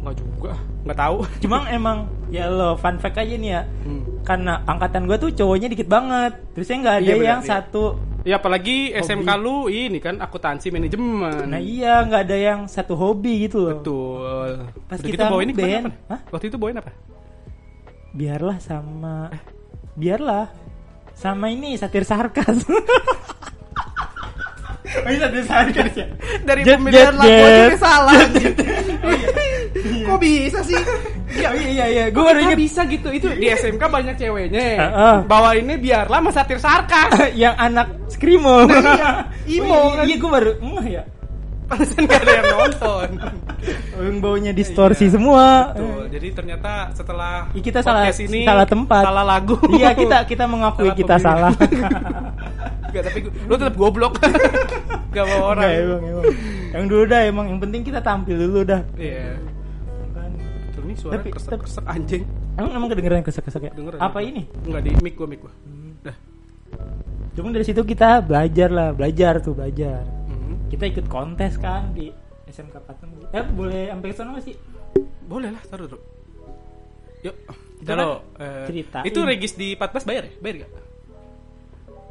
S2: Nggak juga, nggak tahu.
S1: Cuma emang ya lo fun fact aja nih ya.
S2: Hmm.
S1: Karena angkatan gue tuh cowoknya dikit banget. Terusnya nggak ada
S2: Iya, benar,
S1: yang
S2: iya.
S1: satu.
S2: Ya apalagi SMK lu ini kan akuntansi manajemen.
S1: Nah iya nggak ada yang satu hobi gitu loh.
S2: Hmm. Betul.
S1: Pas
S2: Udah gitu
S1: kita
S2: bawain ini kemana,
S1: band,
S2: apa?
S1: hah?
S2: Waktu itu bawain apa?
S1: Biarlah sama, biarlah sama ini satir sarkas. Oh,
S2: iya,
S1: ini satir sarkas ya.
S2: Dari
S1: Jet, jet,
S2: pemilihan lagu aja
S1: jet.
S2: udah salah. Kok bisa sih?
S1: Oh, iya iya iya, gue
S2: Gue
S1: baru inget
S2: bisa gitu itu di SMK banyak ceweknya
S1: Heeh.
S2: bawa ini biarlah mas satir sarkas
S1: yang anak skrimo
S2: Imo
S1: iya
S2: kan.
S1: gue baru ngeh ya
S2: Pantesan gak ada yang nonton
S1: Oh, yang baunya distorsi semua
S2: Iya. Betul. Gitu. jadi ternyata setelah
S1: Eh. Ih, kita salah
S2: podcast ini
S1: salah tempat
S2: salah lagu
S1: iya kita kita mengakui
S2: Salah
S1: kita
S2: pemilih.
S1: salah
S2: Gak, tapi gua- lu tetap goblok gak bawa orang
S1: Enggak, Iya, emang, emang. yang dulu dah emang yang penting kita tampil dulu dah
S2: iya betul nih suara
S1: Tapi-
S2: kresek
S1: tapi-
S2: kresek anjing
S1: emang emang kedengeran kesek kesek ya
S2: Kedengeran.
S1: apa ini
S2: Enggak di mic gua mic gua dah
S1: cuma dari situ kita belajar lah belajar tuh belajar
S2: Mhm.
S1: kita ikut kontes kan di SMK Patung eh boleh sampai ke sana nggak sih
S2: boleh lah taruh dulu yuk
S1: Kita
S2: kalau
S1: kan
S2: eh,
S1: ceritain.
S2: itu regis di 14 bayar ya bayar gak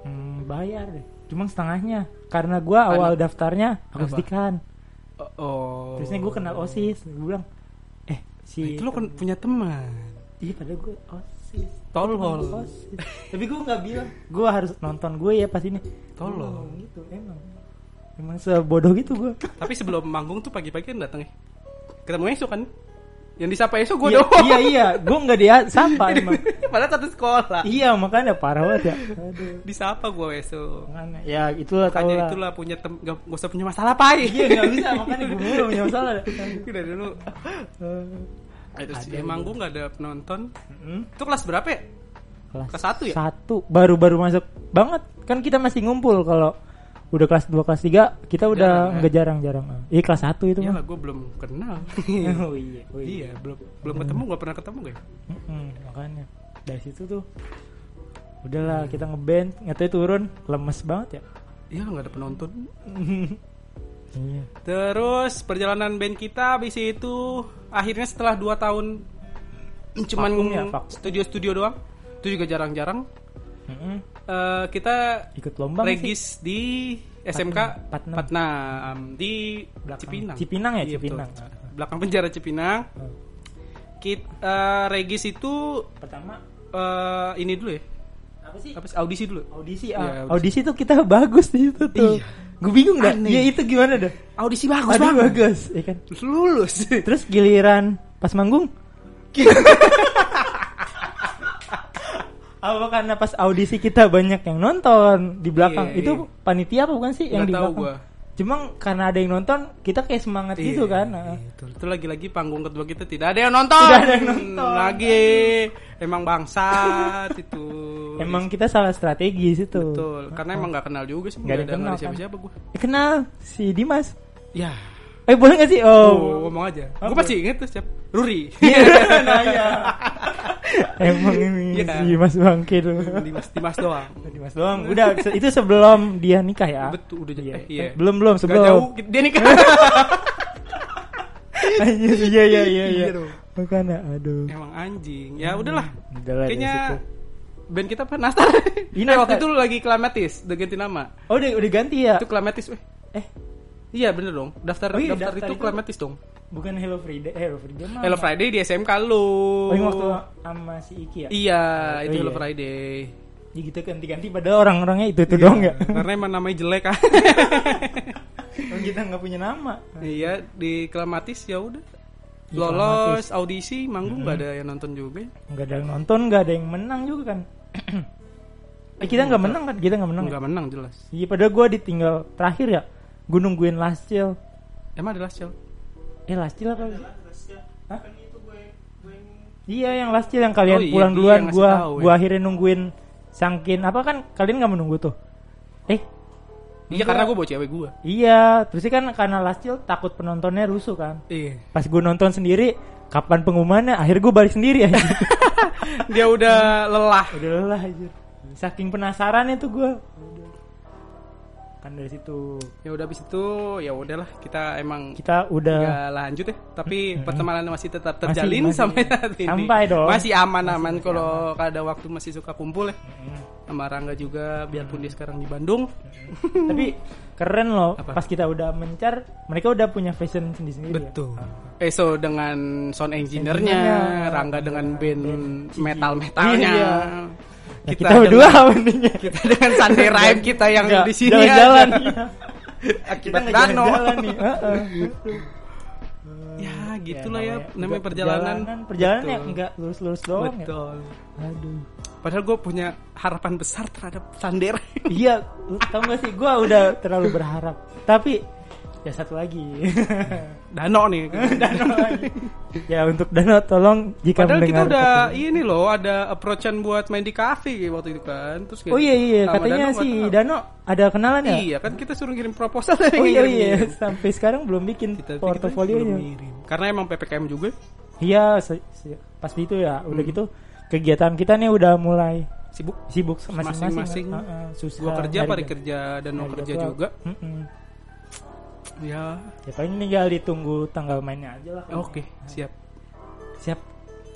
S1: Hmm, bayar deh cuma setengahnya karena gua awal daftarnya akustikan
S2: oh
S1: Terusnya gue kenal OSIS, gue bilang, eh
S2: Nah,
S1: si
S2: itu lo kan punya teman.
S1: iya padahal gue OSIS.
S2: Tolol.
S1: Gua OSIS. Tapi gue nggak bilang, gue harus nonton gue ya pas ini.
S2: Tolol.
S1: Emang gitu emang. Emang sebodoh gitu gue.
S2: Tapi sebelum manggung tuh pagi-pagi kan datang ya. Ketemu esok kan. Yang disapa esok gue
S1: Iya
S2: doang.
S1: iya, iya. gue nggak dia sapa emang.
S2: Padahal satu sekolah.
S1: iya makanya parah banget ya. Aduh.
S2: Disapa gue esok.
S1: Makanya, ya itulah tau
S2: Makanya
S1: lah.
S2: itulah punya tem gak, gak usah punya masalah pai.
S1: Iya nggak bisa makanya gue mulu punya masalah.
S2: Udah dulu.
S1: Eh,
S2: Nah, terus ya, manggung gak ada penonton.
S1: mm,
S2: Itu kelas berapa ya? Kelas satu ya?
S1: Satu baru-baru masuk banget kan kita masih ngumpul kalau udah kelas 2 kelas 3 kita
S2: Jarang, ya?
S1: udah nggak jarang-jarang. Iya kelas 1 itu
S2: Iya
S1: mah.
S2: lah gue belum kenal.
S1: oh iya, oh iya.
S2: iya belum belum ketemu gak pernah ketemu gue.
S1: Mm-mm, makanya dari situ tuh udahlah kita ngeband nggak tahu turun lemes banget ya
S2: ya nggak ada penonton
S1: Iya.
S2: terus perjalanan band kita habis itu akhirnya setelah 2 tahun cuman
S1: Vakum ya, vakum.
S2: studio-studio doang itu juga jarang-jarang
S1: Mm-mm.
S2: Eh, kita
S1: Ikut lomba nggak sih?
S2: regis di SMK
S1: Patna.
S2: Patna, um, di
S1: Belakang.
S2: Cipinang.
S1: Cipinang ya,
S2: Iya, betul.
S1: Cipinang.
S2: Belakang penjara Cipinang.
S1: Hmm.
S2: Kita regis itu
S1: Pertama
S2: eh, ini dulu ya.
S1: apa sih?
S2: Apa sih audisi dulu?
S1: Audisi ah.
S2: Iya,
S1: audisi
S2: audisi.
S1: tuh kita bagus di situ tuh.
S2: Iya.
S1: Gue bingung gak?
S2: Aneh.
S1: Ya itu gimana dah?
S2: Audisi
S1: Aduh,
S2: bagus banget.
S1: bagus, ya kan?
S2: Lulus.
S1: Terus giliran pas manggung
S2: Gitu.
S1: Apa karena pas audisi kita banyak yang nonton di belakang?
S2: Iya,
S1: Itu
S2: iya.
S1: panitia apa bukan sih yang di
S2: Nggak tahu
S1: belakang?
S2: gua.
S1: Cuma karena ada yang nonton, kita kayak semangat gitu
S2: Iya,
S1: kan.
S2: iya,
S1: Nah,
S2: betul. Itu lagi-lagi panggung kedua kita tidak ada yang nonton. Hmm,
S1: Tidak ada yang nonton.
S2: Lagi emang bangsat itu.
S1: Emang kita salah strategi situ.
S2: betul. Karena emang nggak kenal juga sih.
S1: Nggak ada yang
S2: nggak
S1: kenal, kan?
S2: siapa-siapa gue.
S1: Eh, Kenal si Dimas.
S2: Ya.
S1: Eh boleh gak sih?
S2: Oh,
S1: Oh.
S2: ngomong aja.
S1: Apa?
S2: Gue pasti inget tuh siap. Ruri.
S1: nah, iya. Emang ini
S2: Iya kan?
S1: si Dimas bangke dulu.
S2: Dimas, Dimas doang.
S1: Dimas doang. Udah se- itu sebelum dia nikah ya.
S2: Betul, udah
S1: Iya.
S2: eh, iya.
S1: Belum belum
S2: Gak jauh,
S1: sebelum.
S2: dia nikah.
S1: Anjir, iya iya iya iya.
S2: Iya dong.
S1: Makanya aduh.
S2: Emang anjing. Ya udahlah.
S1: Hmm, Udah lah dari
S2: Kayaknya
S1: situ.
S2: band kita apa? Nastar.
S1: Iya,
S2: Nah, waktu
S1: Nastar.
S2: itu lagi Klamatis, udah ganti nama.
S1: Oh udah udah ganti ya.
S2: Itu Klamatis, weh.
S1: Eh
S2: Iya bener dong. Daftar
S1: Oh iya,
S2: daftar,
S1: daftar
S2: itu,
S1: itu-
S2: Klamatis dong.
S1: bukan Hello Friday, eh, Hello Friday mah.
S2: Hello Friday di SMK lu.
S1: Oh, yang waktu sama si Iki ya.
S2: Iya, itu
S1: Oh,
S2: Hello
S1: iya.
S2: Friday.
S1: Ya gitu ganti-ganti padahal orang-orangnya itu
S2: Iya.
S1: itu doang ya.
S2: Karena emang namanya jelek ah.
S1: Orang Oh, kita nggak punya nama.
S2: iya, di Klamatis ya udah.
S1: Iya, Di
S2: Lolos audisi, manggung nggak ada yang nonton juga.
S1: Nggak ada yang nonton, nggak ada yang menang juga kan. eh kita nggak menang kan? Kita nggak menang. ya?
S2: Nggak menang jelas.
S1: Iya padahal gue ditinggal terakhir ya. Gue nungguin last chill.
S2: Emang ada Lascel?
S1: Eh last chill apa?
S4: Terusnya,
S1: Hah?
S4: kan itu gue gue yang
S1: Iya yang last chill yang kalian
S2: Oh, iya,
S1: pulang
S2: dia
S1: duluan.
S2: yang ngasih
S1: Gue
S2: tahu, ya.
S1: gue akhirnya nungguin sangkin apa kan? Kalian nggak menunggu tuh? Eh
S2: Iya karena gue bawa cewek gue.
S1: iya. Terusnya kan karena last chill takut penontonnya rusuh kan.
S2: Iya.
S1: Pas gue nonton sendiri, kapan pengumumannya? Akhir gue balik sendiri aja.
S2: Dia udah lelah.
S1: Udah lelah aja. Saking penasaran itu gue. Kan dari situ
S2: Ya udah habis itu ya udahlah kita emang
S1: kita udah
S2: nggak lanjut ya. Tapi pertemanan masih tetap
S1: Eh.
S2: terjalin
S1: masih.
S2: sampai saat ini.
S1: Sampai dong.
S2: Masih aman-aman kalau ada waktu masih suka kumpul ya.
S1: Mm-hmm.
S2: Sama Rangga juga biarpun dia sekarang di Bandung.
S1: tapi keren loh.
S2: Apa?
S1: Pas kita udah mencar, mereka udah punya fashion sendiri-sendiri. ya.
S2: Eh so dengan sound engineer-nya,
S1: Engineer-nya.
S2: Rangga dengan band
S1: Ciki.
S2: metal-metalnya.
S1: Iya. Nah,
S2: Kita
S1: kita berdua
S2: dengan-
S1: mendingnya.
S2: Kita dengan Sunday Rhyme kita yang
S1: Nggak,
S2: di sini
S1: jalan-jalan.
S2: aja. Akibat
S1: nggak
S2: Dano.
S1: jalan-jalan nih. Heeh.
S2: Ya gitulah ya,
S1: namanya-
S2: namanya perjalanan.
S1: Perjalanan ya
S2: Betul.
S1: nggak lurus-lurus doang ya.
S2: Betul.
S1: Aduh.
S2: Padahal gue punya harapan besar terhadap Sunday Rhyme.
S1: Iya, lu tau gak sih? Gue udah terlalu berharap. Tapi ya satu lagi.
S2: Dano nih.
S1: Dano lagi. Ya untuk Dano tolong jika
S2: Padahal kita
S1: mendengar.
S2: udah ini loh ada approachan buat main di kafe waktu itu kan. Terus kayak
S1: Oh iya iya
S2: sama
S1: katanya
S2: Dano nggak
S1: si
S2: tahu.
S1: Dano ada kenalan ya?
S2: Iya kan kita suruh kirim proposal tapi
S1: Oh
S2: nggak
S1: iya iya
S2: ngirim-ngirim.
S1: sampai sekarang belum bikin
S2: Kita tapi kita belum
S1: portofolionya.
S2: ngirim. Karena emang PPKM juga.
S1: Iya se- se- pasti itu ya
S2: Hmm.
S1: udah gitu kegiatan kita nih udah mulai
S2: Sibuk.
S1: sibuk masing-masing. kan?
S2: Masing-masing.
S1: Heeh, susah.
S2: Gua kerja,
S1: Ah, nyari Nah,
S2: pari kerja dan
S1: nyari
S2: mau kerja
S1: jadwal.
S2: juga.
S1: Mm-mm.
S2: Ya.
S1: Ya paling tinggal ditunggu tanggal mainnya aja lah.
S2: Oke, siap.
S1: Siap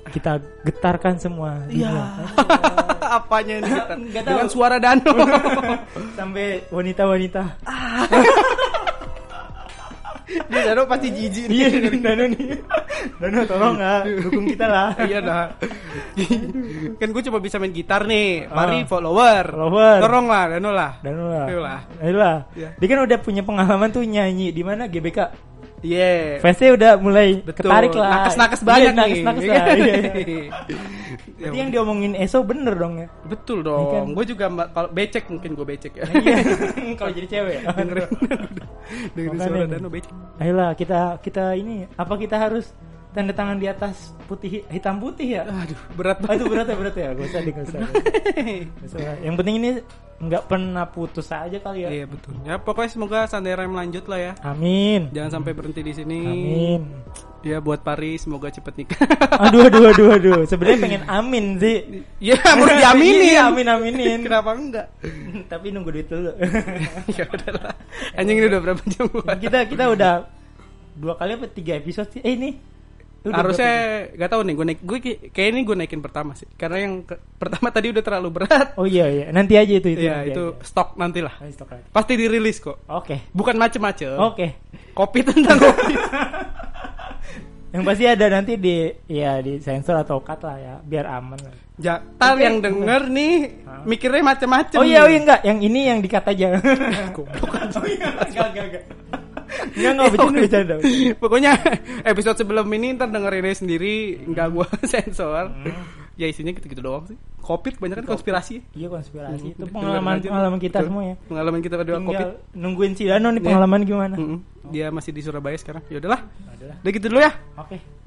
S1: kita getarkan semua
S2: Iya.
S1: dunia.
S2: Apanya ini? Gitar?
S1: Nggak tahu.
S2: Dengan suara Dano.
S1: sampai wanita-wanita
S2: Ah. Dia Dano pasti jijik nih.
S1: iya Danu nih Danu tolong nggak dukung kita lah
S2: iya dah kan gue cuma bisa main gitar nih mari follower
S1: Ah. Follower.
S2: tolong lah dano lah
S1: Danu lah
S2: Ayo lah.
S1: Ayo lah
S2: Iya.
S1: dia kan udah punya pengalaman tuh nyanyi di mana GBK
S2: yeah
S1: fansnya udah mulai
S2: betul
S1: ketarik lah
S2: nakes nakes banyak
S1: Iya, nakes
S2: nih kan?
S1: nakes lah iya, iya.
S2: Ya,
S1: Berarti yang diomongin Eso bener dong ya
S2: betul
S1: Iya kan?
S2: dong gue juga mbak- kalau becek mungkin gue becek ya
S1: iya kalau jadi cewek
S2: dengerin dengerin
S1: Makanya
S2: suara
S1: nih.
S2: dano becek
S1: ayolah kita kita ini apa kita harus tanda tangan di atas putih hitam putih ya
S2: aduh berat
S1: Ah,
S2: banget
S1: itu berat ya berat ya gak usah deh, nggak usah. Nggak usah. yang penting ini nggak pernah putus aja kali ya
S2: iya betul ya pokoknya semoga sandera melanjut lah ya
S1: amin
S2: jangan sampai berhenti di sini
S1: amin
S2: Ya buat Paris semoga cepet nikah.
S1: aduh aduh aduh aduh sebenarnya pengen amin sih
S2: ya mau diaminin.
S1: Iya, amin aminin
S2: Kenapa enggak?
S1: tapi nunggu duit dulu
S2: ya udahlah. Anjing ini udah berapa jam gua?
S1: kita kita udah dua kali apa tiga episode sih eh ini Udah
S2: Harusnya gak tahu nih gue naik gue kayak ini gue naikin pertama sih. Karena yang ke- pertama tadi udah terlalu berat.
S1: berapa? oh iya iya nanti aja itu itu
S2: ya
S1: nanti
S2: itu
S1: aja.
S2: stok nantilah.
S1: Nanti stok lagi.
S2: Pasti dirilis kok.
S1: oke
S2: Bukan macem-macem.
S1: oke
S2: Kopi tentang kopi.
S1: yang pasti ada nanti di ya di sensor atau cut lah ya biar aman lah.
S2: Jatal yang denger nih mikirnya macem-macem.
S1: oh iya oh iya enggak yang ini yang dikat aja
S2: Goblok.
S1: oh iya enggak enggak enggak enggak
S2: Iya,
S1: enggak Oh, bercanda bercanda
S2: oh, Pokoknya episode sebelum ini ntar dengerinnya sendiri nggak gua sensor.
S1: Hmm.
S2: Ya isinya gitu-gitu doang sih. Covid banyak kan konspirasi.
S1: iya konspirasi itu
S2: Dengerin
S1: pengalaman
S2: aja.
S1: pengalaman kita
S2: Betul.
S1: semua ya
S2: Pengalaman kita pada Covid. Hmm.
S1: tinggal Oh. nungguin si Dano nih pengalaman gimana
S2: Mm-mm. Dia masih di Surabaya sekarang. Ya udahlah. Udah gitu dulu ya.
S1: oke